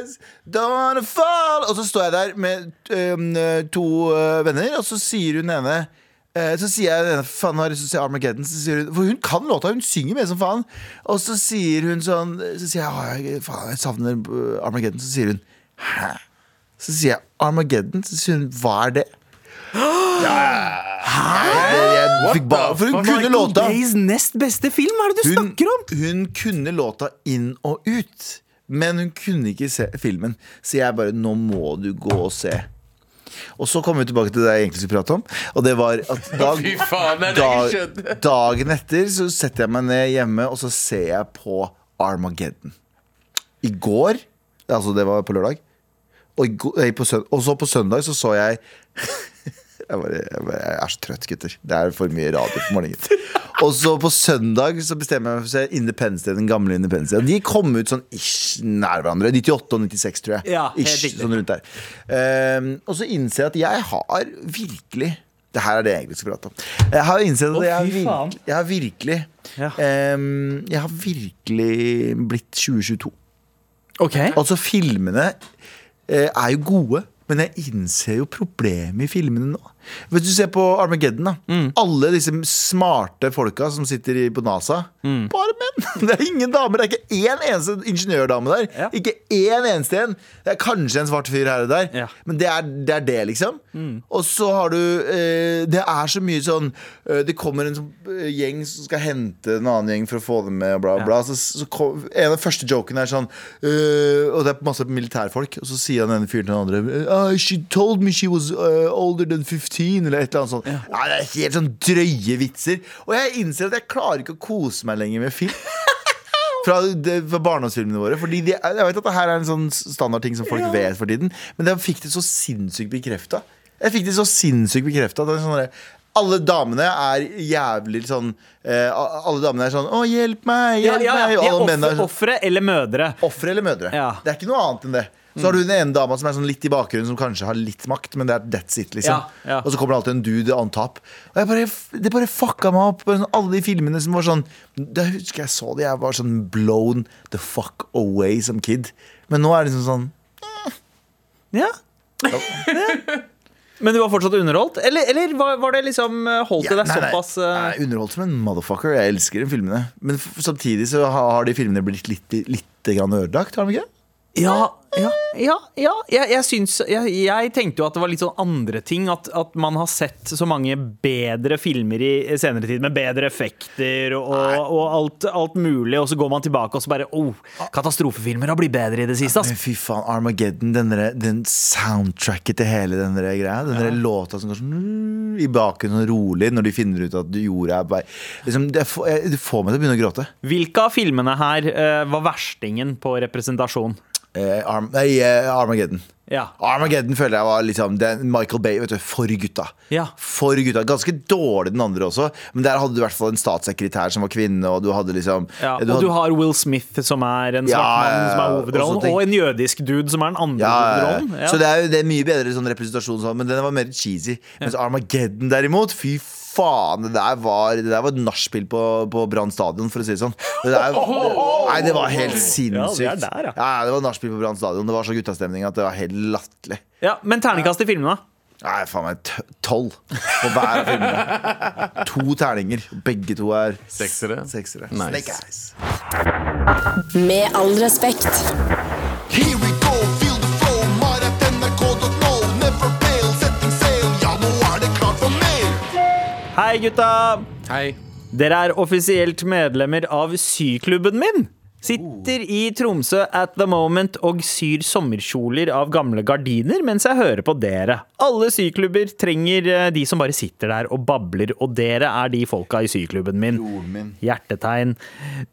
eyes Don't wanna fall Og så står jeg der med øhm, to øh, venner Og så sier hun ene eh, så sier jeg den ene, faen, nå har jeg lyst til å se Armageddon så sier hun, For hun kan låta, hun synger med som faen Og så sier hun sånn Så sier jeg, «Å, jeg- faen, jeg savner øh, Armageddon Så sier hun, hæ? Så sier jeg, Armageddon? Så sier hun, hva er det? Hæ? Jeg, jeg fikk bare, for hun kunne låta
Days nest beste film, hva er det du snakker om?
hun kunne låta inn og ut, men hun kunne ikke se filmen. Så jeg bare Nå må du gå og se. Og så kom vi tilbake til det jeg egentlig skulle prate om. Og det var at dag,
Fy faen, det er det jeg ikke
dag,
skjønte.
dagen etter så setter jeg meg ned hjemme, og så ser jeg på Armageddon. I går Altså, det var på lørdag. Og, i går- nei, på søn- og så på søndag så så jeg jeg, bare, jeg, bare, jeg er så trøtt, gutter. Det er for mye radio på morgenen. Og så på søndag så bestemmer jeg meg for å se Independence Day. Den gamle Independence Day. De kom ut sånn ish nær hverandre. 98 og 96, tror jeg.
Ja, helt
ish,
riktig.
sånn rundt der. Ehm, og så innser jeg at jeg har virkelig Det her er det jeg egentlig skal prate om. Jeg har innsett at
Å,
jeg, har
fy faen.
virkelig, jeg har virkelig
Ja.
ehm, Jeg har virkelig blitt 2022.
Ok
Altså, filmene eh, er jo gode, men jeg innser jo problemet i filmene nå. Hvis du ser på Armageddon, da.
Mm.
Alle disse smarte folka som sitter i- på NASA.
Mm.
Bare menn! Det er ingen damer. Det er ikke én eneste ingeniørdame der.
Ja.
Ikke én eneste en. Det er kanskje en svart fyr her og der,
Ja.
men det er det, er det liksom. Og så har du eh, Det er så mye sånn eh, Det kommer en sånn, eh, gjeng som skal hente en annen gjeng for å få dem med, og bla, bla. Så, så kom, en av de første jokene er sånn eh, Og det er masse militærfolk, og så sier han ene fyren til den andre «Ah, She told me she was eh, older than 15, eller et eller annet sånt. Nei, det er helt sånn drøye vitser. Og jeg innser at jeg klarer ikke å kose meg lenger med film fra, det, fra barndomsfilmene våre. Fordi de, jeg vet at det her er en sånn standardting som folk vet for tiden, men jeg fikk det så sinnssykt bekrefta. Jeg fikk det så sinnssykt bekrefta. Sånn der, alle damene er jævlig sånn eh, Alle damene er sånn 'Å, hjelp meg!
Ja,
Hjelp
ja, ja. De
meg!' Og
er
alle mennene er
ofre,
sånn
ofre eller mødre.
Ofre eller mødre.
Ja.
Det er ikke noe annet enn det. Så har du den ene dama som er sånn litt i bakgrunnen, som kanskje har litt makt, men det er that's it, liksom.
Ja, ja.
Og så kommer det alltid en dude on top. Og jeg bare, det bare fucka meg opp. Bare sånn, alle de filmene som var sånn Da husker jeg så det, jeg var sånn blown the fuck away som kid. Men nå er det liksom sånn
Ja. Men du var fortsatt underholdt? Eller, eller var, var det liksom eh, holdt det
Ja,
deg
nei, nei.
såpass eh,
Jeg er underholdt som en motherfucker. Jeg elsker de filmene. Men f- samtidig så ha- har de filmene blitt litt, litt grann ødelagt, har de ikke?
Ja, ja, ja, ja. Jeg, jeg, syns, jeg, jeg tenkte jo at det var litt sånn andre ting. At, at man har sett så mange bedre filmer i senere tid, med bedre effekter og, og alt, alt mulig, og så går man tilbake og så bare oh, Katastrofefilmer har blitt bedre i det siste,
Men
ass.
fy faen, Armageddon, den, der, den soundtracket til hele den der greia. Den der låta som går sånn mm, i bakgrunnen sånn rolig når de finner ut at jorda er på vei. Liksom, det, får- jeg- det får meg til å begynne å gråte.
Hvilke av filmene her eh, var verstingen på representasjon?
Eh, Arm, nei, eh, Armageddon.
Ja.
Armageddon føler jeg var liksom den, Michael Bay vet du, for gutta.
Ja.
For gutta, Ganske dårlig den andre også, men der hadde du i hvert fall en statssekretær som var kvinne. Og du hadde liksom
Ja,
du
og du
hadde-
har Will Smith, som er en svart
Ja,
mann, som er
ja, ja.
hovedrollen.
Og så tenk-
Og en jødisk dude, som er den andre
ja, ja, ja.
hovedrollen. Ja.
Så det er jo det er mye bedre sånn representasjon, sånn, men den var mer cheesy. Mens Armageddon derimot, fy faen, det der var, det der var et nachspiel på, på Brann stadion, for å si det sånn. Det der, nei, det var helt sinnssykt.
Ja, det er der, ja.
ja, det var nachspiel på Brann stadion. Det var så guttastemning at det var helt latterlig.
ja, men terningkast i filmene, da?
Nei, faen meg t- tolv på hver av filmene. To terninger. Begge to er
Seksere.
seksere.
Nice.
Snake eyes.
Med all respekt.
Here we go, feel the flow, maratnrk.no. Never fail, setting sail, ja nå er det klart for mer.
Hei, gutta!
Hei.
Dere er offisielt medlemmer av syklubben min. Sitter i Tromsø at the moment og syr sommerkjoler av gamle gardiner mens jeg hører på dere. Alle syklubber trenger eh, de som bare sitter der og babler, og dere er de folka i syklubben min. Hjertetegn.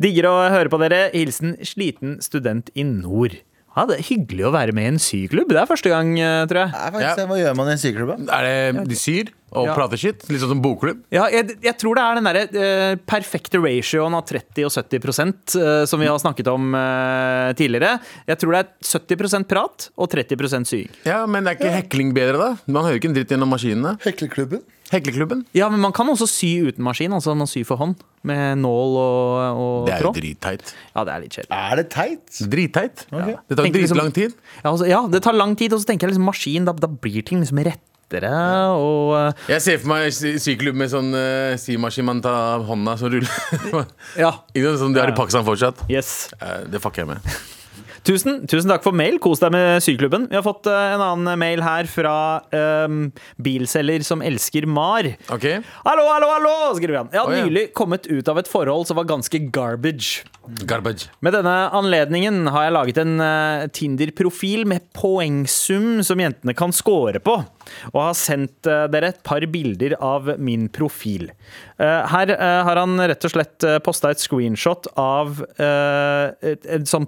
Digger å høre på dere. Hilsen sliten student i nord. Ja, det er Hyggelig å være med i en syklubb. Det er første gang, eh, tror jeg.
Nei,
Ja.
faktisk, det. Hva gjør man i en sykeklubb? da?
Er det de syr og
Ja.
prater shit? Litt sånn som bokklubb?
Ja, jeg, jeg tror det er den derre eh, perfekte ratioen av 30 og 70 eh, som vi har snakket om eh, tidligere. Jeg tror det er 70 prat og 30 sying.
Ja, men er ikke hekling bedre, da? Man hører ikke en dritt gjennom maskinene.
Hekleklubben.
Hekleklubben?
Ja, men man kan også sy uten maskin. Altså man syr for hånd med nål og, og
Det er jo
tråd.
dritteit.
Ja, det er litt kjedelig.
Er det teit?
Dritteit. Det tar
Tenker liksom-
dritlang tid.
Ja, altså, ja, det tar lang tid, og så tenker jeg liksom maskin, da, da blir ting liksom rettere og eh,
Jeg ser for meg sy- syklubb med sånn uh, symaskin man tar av hånda som ruller.
Ja.
Ikke sant, Som de har i Pakistan fortsatt.
Yes.
Eh, det fucker jeg med.
Tusen, tusen takk for mail. Kos deg med syklubben. Vi har fått eh, en annen mail her fra ehm, bilselger som elsker Mar.
Ok?
Hallo, hallo, hallo! skriver han. Jeg har
Oi, ja.
nylig kommet ut av et forhold som var ganske garbage.
Garbage.
Med denne anledningen har jeg laget en eh, Tinder-profil med poengsum som jentene kan score på, og har sendt eh, dere et par bilder av min profil. Eh, her eh, har han rett og slett uh, posta et screenshot av eh, et, en sånn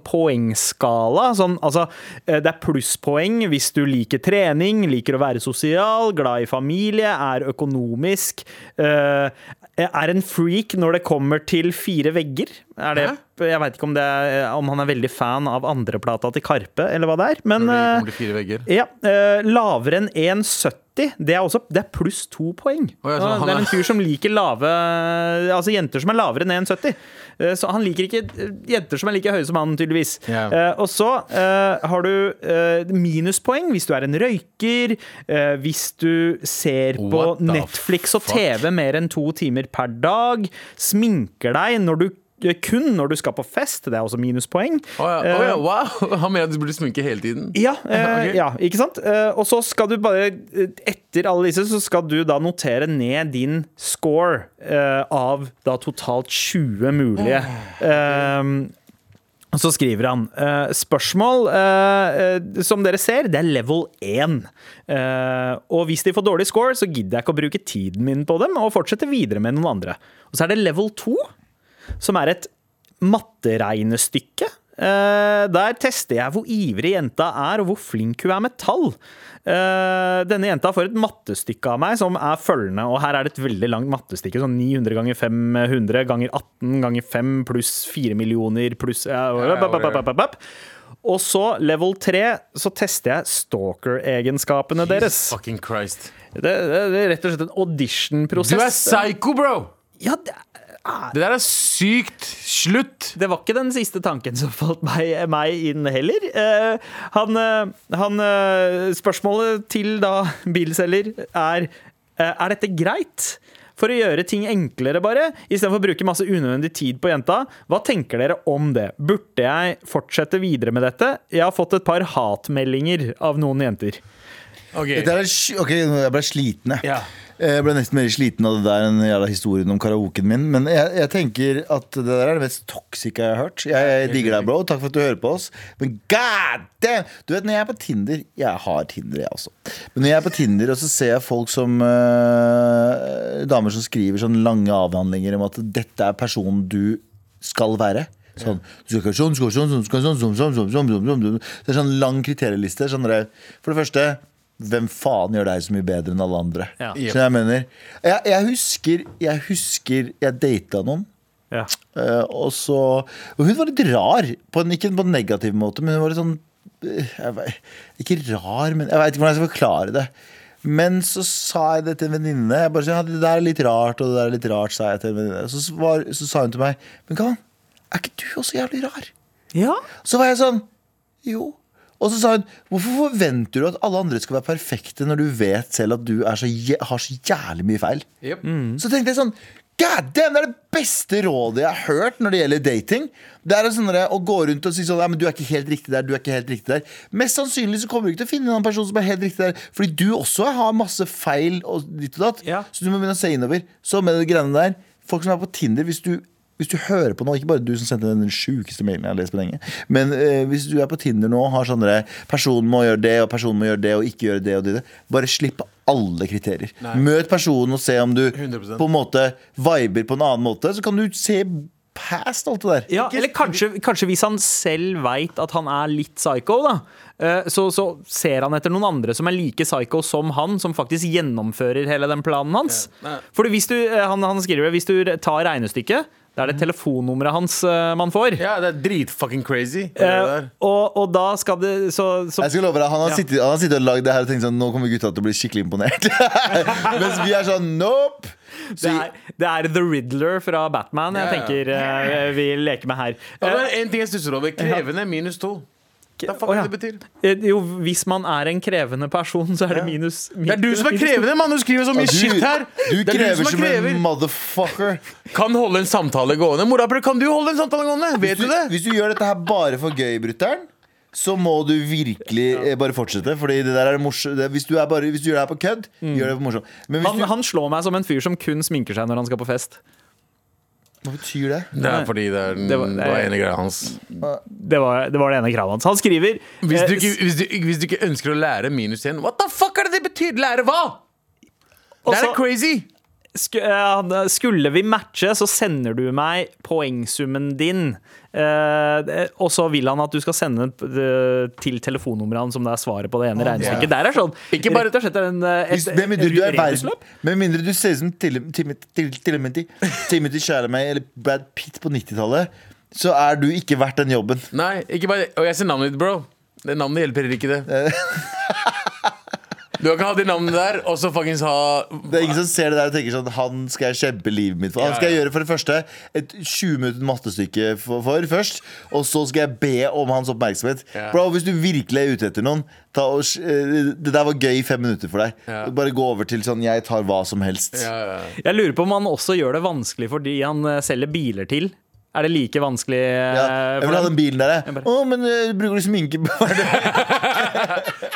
poengskala. Sånn, altså, eh, det er plusspoeng hvis du liker trening, liker å være sosial, glad i familie, er økonomisk. eh, er en freak når det kommer til fire vegger. Er det, jeg veit ikke om, det er, om han er veldig fan av andreplata til Karpe, eller hva det er. Men
Når det
eh,
kommer til fire vegger.
ja, eh, lavere enn 1,70. Det er også det er pluss to poeng.
Å, ja, så han
det er
er-
en fyr som liker lave Altså jenter som er lavere enn 1,70. Eh, Så han liker ikke eh, jenter som er like høye som han, tydeligvis.
Ja.
Eh, Og så eh, har du eh, minuspoeng hvis du er en røyker, eh, hvis du ser på
What the
Netflix og
fuck?
TV mer enn to timer per dag, sminker deg når du eh, kun når du skal på fest, det er også minuspoeng.
Å ja, å
Eh,
ja, wow! Han mener at du burde sminke hele tiden.
ja, eh,
Ok.
ja, ikke sant? Eh, og så skal du bare, eh, etter alle disse, så skal du da notere ned din score eh, av da totalt 20 mulige. Eh, og så skriver han eh, spørsmål eh, eh, som dere ser, det er level 1. Eh, og hvis de får dårlig score, så gidder jeg ikke å bruke tiden min på dem og fortsette videre med noen andre. Og så er det level 2, som er et matteregnestykke. Eh, der tester jeg hvor ivrig jenta er, og hvor flink hun er med tall. Eh, denne jenta får et mattestykke av meg som er følgende, og her er det et veldig langt mattestykke. Sånn 900 ganger 500 ganger 18 ganger 5 pluss 4 millioner pluss ja,
ja, ja.
bap, bap, bap, bap, bap. Og så, level 3, så tester jeg stalker-egenskapene deres.
Fucking Christ.
Det, det, det er rett og slett en
Du er
audition-prosess.
psycho, bro!
Ja, det,
Det der er sykt. Slutt!
det var ikke den siste tanken som falt meg, meg inn heller. Eh, han, eh, han eh, Spørsmålet til da bilselger er eh, Er dette greit? For å gjøre ting enklere, bare, istedenfor å bruke masse unødvendig tid på jenta. Hva tenker dere om det? Burde jeg fortsette videre med dette? Jeg har fått et par hatmeldinger av noen jenter.
Ok.
Dette er sj- Ok, nå- jeg ble sliten, jeg.
Ja.
Jeg ble nesten mer sliten av det der enn jævla historien om karaoken min. Men jeg, jeg tenker at det der er det mest toxic jeg har hørt. Jeg, jeg digger deg, bro. Takk for at du hører på oss. Men god damn! Du vet, når jeg er på Tinder Jeg har Tinder, jeg også. Men når jeg er på Tinder, og så ser jeg folk som øh, Damer som skriver sånne lange avhandlinger om at dette er personen du skal være. Sånn, du skal sånn, du skal sånn, du skal sånn, sånn, sånn, sånn, sånn, sånn, sånn, sånn. Det er sånn lang kriterieliste. Sånn der, for det første, hvem faen gjør deg så mye bedre enn alle andre?
Ja.
Så jeg mener jeg, jeg husker Jeg husker jeg data noen.
Ja.
eh, og så og Hun var litt rar, på en, ikke på en negativ måte, men hun var litt sånn eh, jeg vet, Ikke rar, men jeg veit ikke hvordan jeg skal forklare det. Men så sa jeg det til en venninne. Jeg bare sa, ja, Det der er litt rart, og det der er litt rart, sa jeg til en venninne. Så, s- var- så sa hun til meg, men Gavan, er ikke du også jævlig rar?
ja.
Så var jeg sånn Jo. Og så sa hun hvorfor forventer du at alle andre skal være perfekte når du vet selv at du er så, jæ- har så jævlig mye feil?
Yep.
Så tenkte jeg sånn God damn, Det er det beste rådet jeg har hørt når det gjelder dating. Det er sånn der, Å gå rundt og si sånn Nei, men du er ikke helt riktig der. du er ikke helt riktig der Mest sannsynlig så kommer du ikke til å finne en annen person som er helt riktig der. Fordi du også har masse feil og ditt og datt.
Ja.
Så du må begynne å se innover. Så med de greiene der Folk som er på Tinder, hvis du hvis du hører på nå, ikke bare du som sendte den sjukeste mailen jeg har lest på lenge, men eh, hvis du er på Tinder nå og har sånn derre Personen må gjøre det, og personen må gjøre det, og ikke gjøre det og det, det bare slipp alle kriterier. Møt personen og se om du
100%.
på en måte viber på en annen måte, så kan du se past alt det der.
Ja, eller kanskje, kanskje hvis han selv veit at han er litt psycho, da. eh, Så, så ser han etter noen andre som er like psycho som han, som faktisk gjennomfører hele den planen hans. For hvis du, eh, han, han skriver hvis du tar regnestykket, da er det telefonnummeret hans eh, man får.
Mhm. Ja, det er dritfucking crazy. Det
Eh,
der.
og, og da skal det så, så
Jeg skal love deg, Han har,
Ja.
sittet, han har sittet og lagd det her og tenkt sånn Nå kommer gutta til å bli skikkelig imponert. Mens vi er sånn nope!
det, er, det er The Riddler fra Batman jeg
Ja, ja.
tenker eh, vi leker med her.
Ja,
Eh,
men en ting jeg stusser over. Krevende minus to. Det er
å,
fucking
ja.
det betyr.
Eh, Jo, hvis man er en krevende person, så er det minus,
Det er du som er
minus to.
krevende, mann! Du skriver så mye
Ja, du,
shit her.
du
det er du
krever
som
som
er krever.
en motherfucker.
Kan holde en samtale gående. Morapuler, kan du holde en samtale gående? Vet
Hvis
du
du,
det?
hvis du gjør dette her bare for gøy, brutter'n, så må du virkelig eh, bare fortsette. Fordi det der er morsomt. Hvis du, er bare, hvis du gjør det her på kødd, gjør det for morsomt. Men hvis
Mm. Han, han slår meg som en fyr som kun sminker seg når han skal på fest.
du, hva betyr det?
Det er fordi det er den
Det var-
det var ene greia hans.
Det var det, var det ene kravet hans. Han skriver
Hvis du,
eh,
ikke, hvis, du, ikke- hvis du ikke ønsker å lære minus én, what the fuck er det det betyr? Lære hva? Det er
Også-
crazy!
sk eh, han- Skulle vi matche, så sender du meg poengsummen din. Eh, det- og så vil han at du skal sende den eh, til telefonnummeret hans, som det er svaret på det ene regnestykket. Der er sånn
Ikke bare-
Rett og slett er det en, eh,
Hvis,
et,
med, mindre
et
du er verden,
rebusløp.
med mindre du ser ut som Tim- Tim- Tim- Timothy Timothy Chalamet eller Brad Pitt på 90-tallet, så er du ikke verdt den jobben.
Nei, ikke bare Og jeg ser navnet ditt, bro. Det navnet hjelper ikke det. Du kan ikke ha det navnet der, og så fuckings ha
Det er ingen som ser det der og tenker sånn Han skal jeg kjempe livet mitt for. Han skal jeg gjøre for det første et 20 minutter mattestykke for, for først, og så skal jeg be om hans oppmerksomhet.
Ja.
Bro, hvis du virkelig er ute etter noen, ta og, s- eh, det der var gøy i fem minutter for deg.
Ja.
Bare gå over til sånn jeg tar hva som helst.
ja, ja.
Jeg lurer på om han også gjør det vanskelig for de han eh, selger biler til. Er det like vanskelig? eh,
Ja, jeg
for
vil ha
dem?
den bilen der, jeg.
Jeg bare-
Å, men eh, bruker du sminke på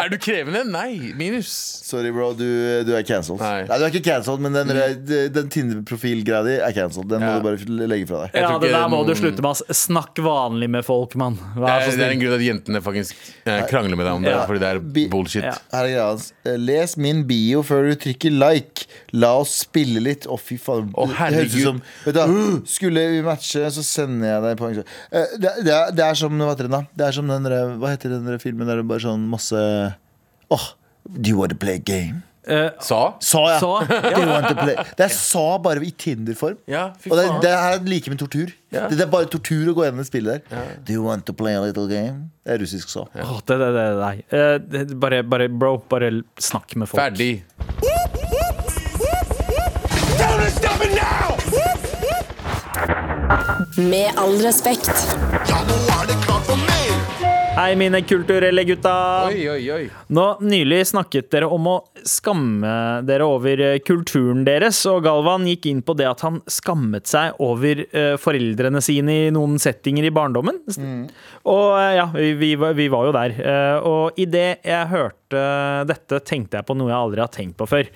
Er du krevende? Nei. Minus.
Sorry, bro. Du, du er cancelled.
Nei. Mm.
Nei. du er ikke cancelled, men den, den Tinder-profilgreia di er cancelled. Den
Ja.
må du bare legge fra deg.
Jeg
Ja,
tror
det
ikke
der må
noen-
du slutte med. ass. Snakk vanlig med folk, mann. Vær så
Det er, det er en
snill.
grunn til at jentene faktisk eh, krangler med deg om det,
Ja.
fordi det
Bi-
er bullshit.
Ja.
Her er greia hans. Les min bio før du trykker like. La oss spille litt. Å, fy faen.
Å, herregud. Uh!
Det høres ut som vet du, hva, Skulle vi matche, så sender jeg deg poeng. Så- Eh, Det, det, er- det er som hva heter den, da? Det er som den der, Hva heter den der filmen der det bare sånn masse Åh, do you want to play a game?
Eh,
Sa?
Sa, ja.
Sa, ja.
Do you want to play? Det er sa bare i Tinder-form.
Ja, fy
og det,
faen.
det er like med tortur.
Ja.
Det, det er bare tortur å gå gjennom det spillet der. Do you want to play a little game? Det er russisk sa.
Åh, det, det, det, nei. Eh, det, bare, bare, bro, bare snakk med folk.
Ferdig.
Med all respekt.
Ja, nå er det klart for mer.
Hei, mine kulturelle gutta.
Oi, oi, oi.
Nå Nylig snakket dere om å skamme dere over eh, kulturen deres, og Galvan gikk inn på det at han skammet seg over eh, foreldrene sine i noen settinger i barndommen.
Mm.
Og eh, ja, vi, vi, var- vi var jo der. Eh, og idet jeg hørte dette, tenkte jeg på noe jeg aldri har tenkt på før.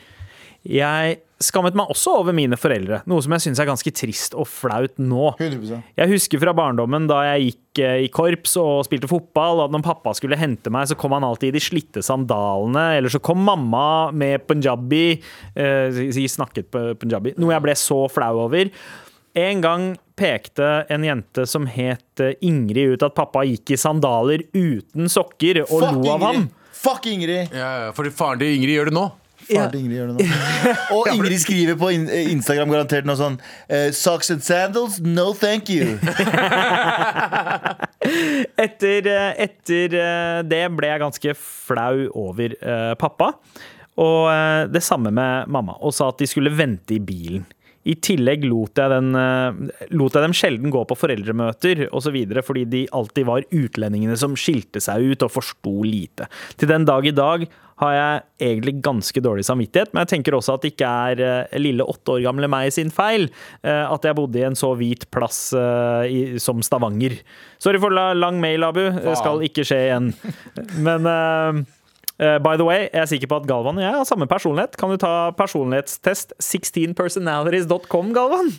Jeg skammet meg også over mine foreldre, noe som jeg syns er ganske trist og flaut nå.
100%.
Jeg husker fra barndommen da jeg gikk eh, i korps og spilte fotball, at når pappa skulle hente meg, så kom han alltid i de slitte sandalene, eller så kom mamma med punjabi, eh, si- si- snakket på punjabi, noe jeg ble så flau over. En gang pekte en jente som het eh, Ingrid ut at pappa gikk i sandaler uten sokker, og
Fuck
lo av ham.
Ingrid! Fuck Ingrid!
Ja, ja, fordi faren til Ingrid gjør det nå.
Faren til Ingrid gjør det nå. Og Ingrid skriver på in eh, Instagram garantert noe sånn eh, Socks and sandals? No thank you.
etter, etter eh, det ble jeg ganske flau over eh, pappa. Og eh, det samme med mamma, og sa at de skulle vente i bilen. I tillegg lot jeg, den, eh, lot jeg dem sjelden gå på foreldremøter osv., fordi de alltid var utlendingene som skilte seg ut og forsto lite. Til den dag i dag har jeg egentlig ganske dårlig samvittighet, men jeg tenker også at det ikke er eh, lille åtte år gamle meg sin feil eh, at jeg bodde i en så hvit plass eh, i, som Stavanger. Sorry for la, lang mail, Abu. Det skal ikke skje igjen. Men eh, eh, by the way, jeg er sikker på at Galvan og jeg har samme personlighet. Kan du ta personlighetstest 16personalities.com, Galvan?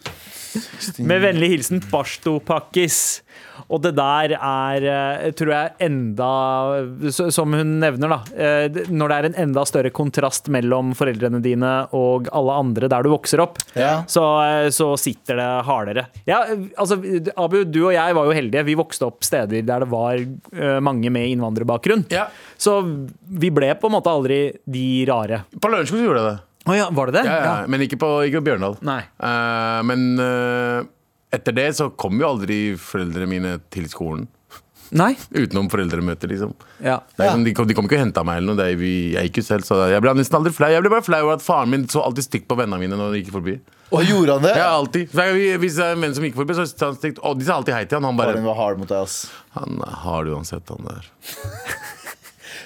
Med vennlig hilsen Barstopakkis. Og det der er, eh, tror jeg, enda s- Som hun nevner, da. eh, d- Når det er en enda større kontrast mellom foreldrene dine og alle andre der du vokser opp,
Ja.
så, eh, så sitter det hardere. Ja, eh, altså, d- Abu, du og jeg var jo heldige. Vi vokste opp steder der det var eh, mange med innvandrerbakgrunn.
Ja.
Så vi ble på en måte aldri de rare.
På Lørenskog så gjorde jeg det.
Å ja, var det det?
Ja, ja. Men ikke på, ikke på Bjørndal.
Nei.
Eh, men eh, etter det så kom jo aldri foreldrene mine til skolen.
Nei?
Utenom foreldremøter, liksom.
Ja.
Det er sånn, de, kom, de kom ikke og henta meg eller noe. Det er, vi, jeg gikk jo selv, så jeg ble nesten aldri flau. Jeg ble bare flau over at faren min så alltid stygt på vennene mine når de gikk forbi.
Og gjorde han det?
Ja, alltid. Hver gang vi- Hvis det er en venn som gikk forbi, så sa han stygt. Og de sa alltid hei til han. Han
Faren
bare
din var hard mot deg, ass.
Han har det uansett, han der.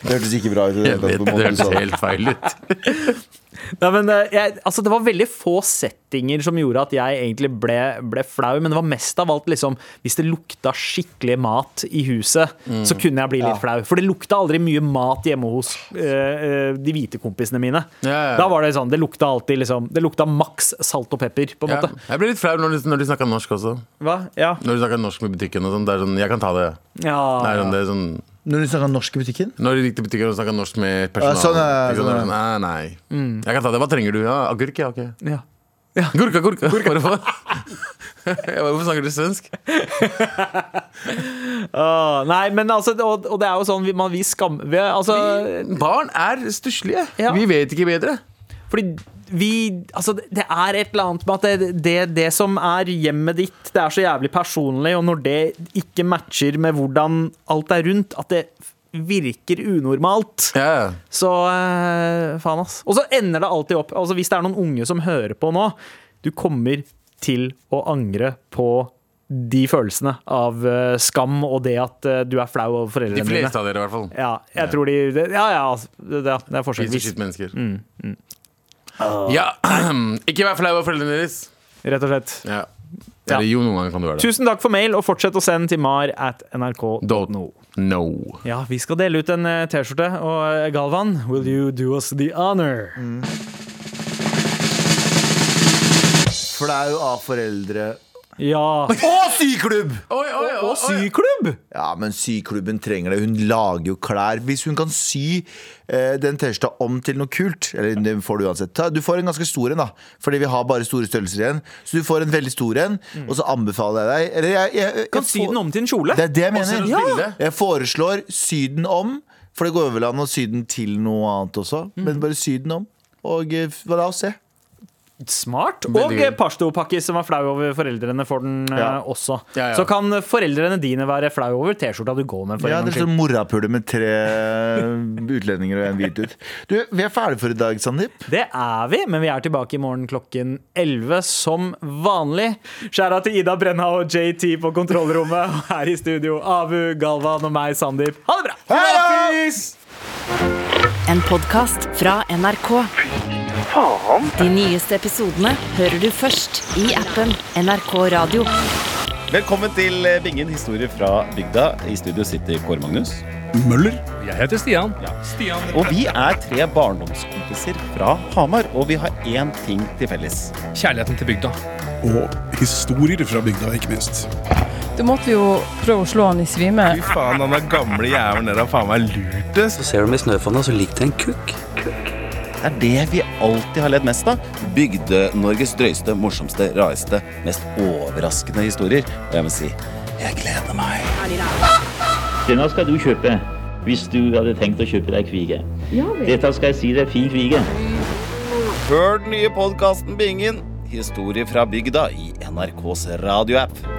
Det hørtes ikke bra ut. i det
Jeg
hele tatt,
vet,
på
det
en måte du sa
hørtes
det.
helt feil ut.
Nei, men eh, jeg, altså, Det var veldig få settinger som gjorde at jeg egentlig ble, ble flau, men det var mest av alt liksom, hvis det lukta skikkelig mat i huset, så
Mm.
kunne jeg bli litt flau. For det lukta aldri mye mat hjemme hos eh, eh, de hvite kompisene mine.
Ja, ja, ja.
Da var det sånn, det lukta alltid liksom, det lukta maks salt og pepper, på en
Ja.
måte.
Jeg ble litt flau når de, når de snakka norsk også.
Hva? Ja.
Når de snakka norsk med butikken og sånn. Det er sånn, jeg kan ta det.
Ah, ja.
Det er sånn, det er sånn
Når du snakka norsk i butikken?
når de gikk til butikken og snakka norsk med personalet.
Ja, sånn, ja,
Ikke
sånn,
sånn, Nei, nei.
Mm.
Jeg kan ta det. Hva trenger du? Ja, agurk? Ja, ok.
Ja.
Gurka, gurka. Hvorfor? Jeg bare, Hvorfor snakker du svensk?
Ah, nei, men altså, og, og det er jo sånn vi, man, vi skam... Vi, altså,
Barn er stusslige.
Ja.
Vi vet ikke bedre.
Fordi vi Altså, det er et eller annet med at det, det, det som er hjemmet ditt, det er så jævlig personlig, og når det ikke matcher med hvordan alt er rundt, at det virker unormalt.
Ja.
Så eh, faen, ass. Og så ender det alltid opp Altså, hvis det er noen unge som hører på nå, du kommer til å angre på de følelsene av eh, skam og det at eh, du er flau over
De
foreldrene
fleste
dine.
av dere, i hvert fall.
Ja, jeg tror de det- Ja, ja, altså, det, det er
Piece of
forskjellsvis.
shit mennesker.
Mm,
Ja. Ikke vær flau over foreldrene deres.
Rett og slett.
Ja.
Ja.
Eller jo, noen ganger kan du være det.
Tusen takk for mail, og fortsett å sende til mar at
Don't
nrk.no.
know. No.
Ja, vi skal dele ut en eh, T-skjorte, og eh, Galvan, will you do us the honor?
Flau av foreldre.
Ja.
Og syklubb!
Oi, oi, oi,
Og
oi.
syklubb!
Ja, men syklubben trenger det. Hun lager jo klær. Hvis hun kan sy eh, den T-skjorta om til noe kult Eller den får du uansett. Ta- Du får en ganske stor en, da. Fordi vi har bare store størrelser igjen. Så du får en veldig stor en, og så anbefaler jeg deg Eller jeg, jeg, jeg,
Kan sy den om til en kjole.
Det er det jeg mener.
send oss Ja. bilde.
Jeg foreslår sy den om. For det går vel an å sy den til noe annet også. Men bare sy den om.
Og eh, la oss se.
Smart. Og
Veldig gøy.
pashto-pakkis som var flau over foreldrene, får den eh,
Ja.
også.
Ja, ja.
Så kan foreldrene dine være flau over T-skjorta du går med. For
Ja,
en
det
gangs
står
skyld.
morapule med tre eh, utlendinger og en hvit ut. Du, vi er ferdige for i dag, Sandeep.
Det er vi, men vi er tilbake i morgen klokken 11 som vanlig. Skjæra til Ida Brenna og JT på kontrollrommet. Og her i studio Abu, Galvan og meg, Sandeep. Ha det bra!
En podkast fra NRK. De nyeste episodene hører du først i appen NRK Radio.
Velkommen til eh, Bingen historie fra bygda. I studio sitter Kåre Magnus. Møller. Jeg heter Stian. Og vi er tre barndomskompiser fra Hamar, og vi har én ting til felles.
og historier fra bygda, ikke minst.
Da måtte vi jo prøve å slå han i svime.
Faen, han er gamle jævelen der, faen meg lurt, ass.
Ser du med snøfonna, så ligger det en kukk. Det er det vi alltid har ledd mest av. Bygde-Norges drøyeste, morsomste, rareste, mest overraskende historier. Og jeg må si jeg gleder meg.
Denne skal du kjøpe hvis du hadde tenkt å kjøpe deg kvige. Dette skal jeg si deg fin kvige.
Hør den nye podkasten Bingen. Historie fra bygda i NRKs radioapp.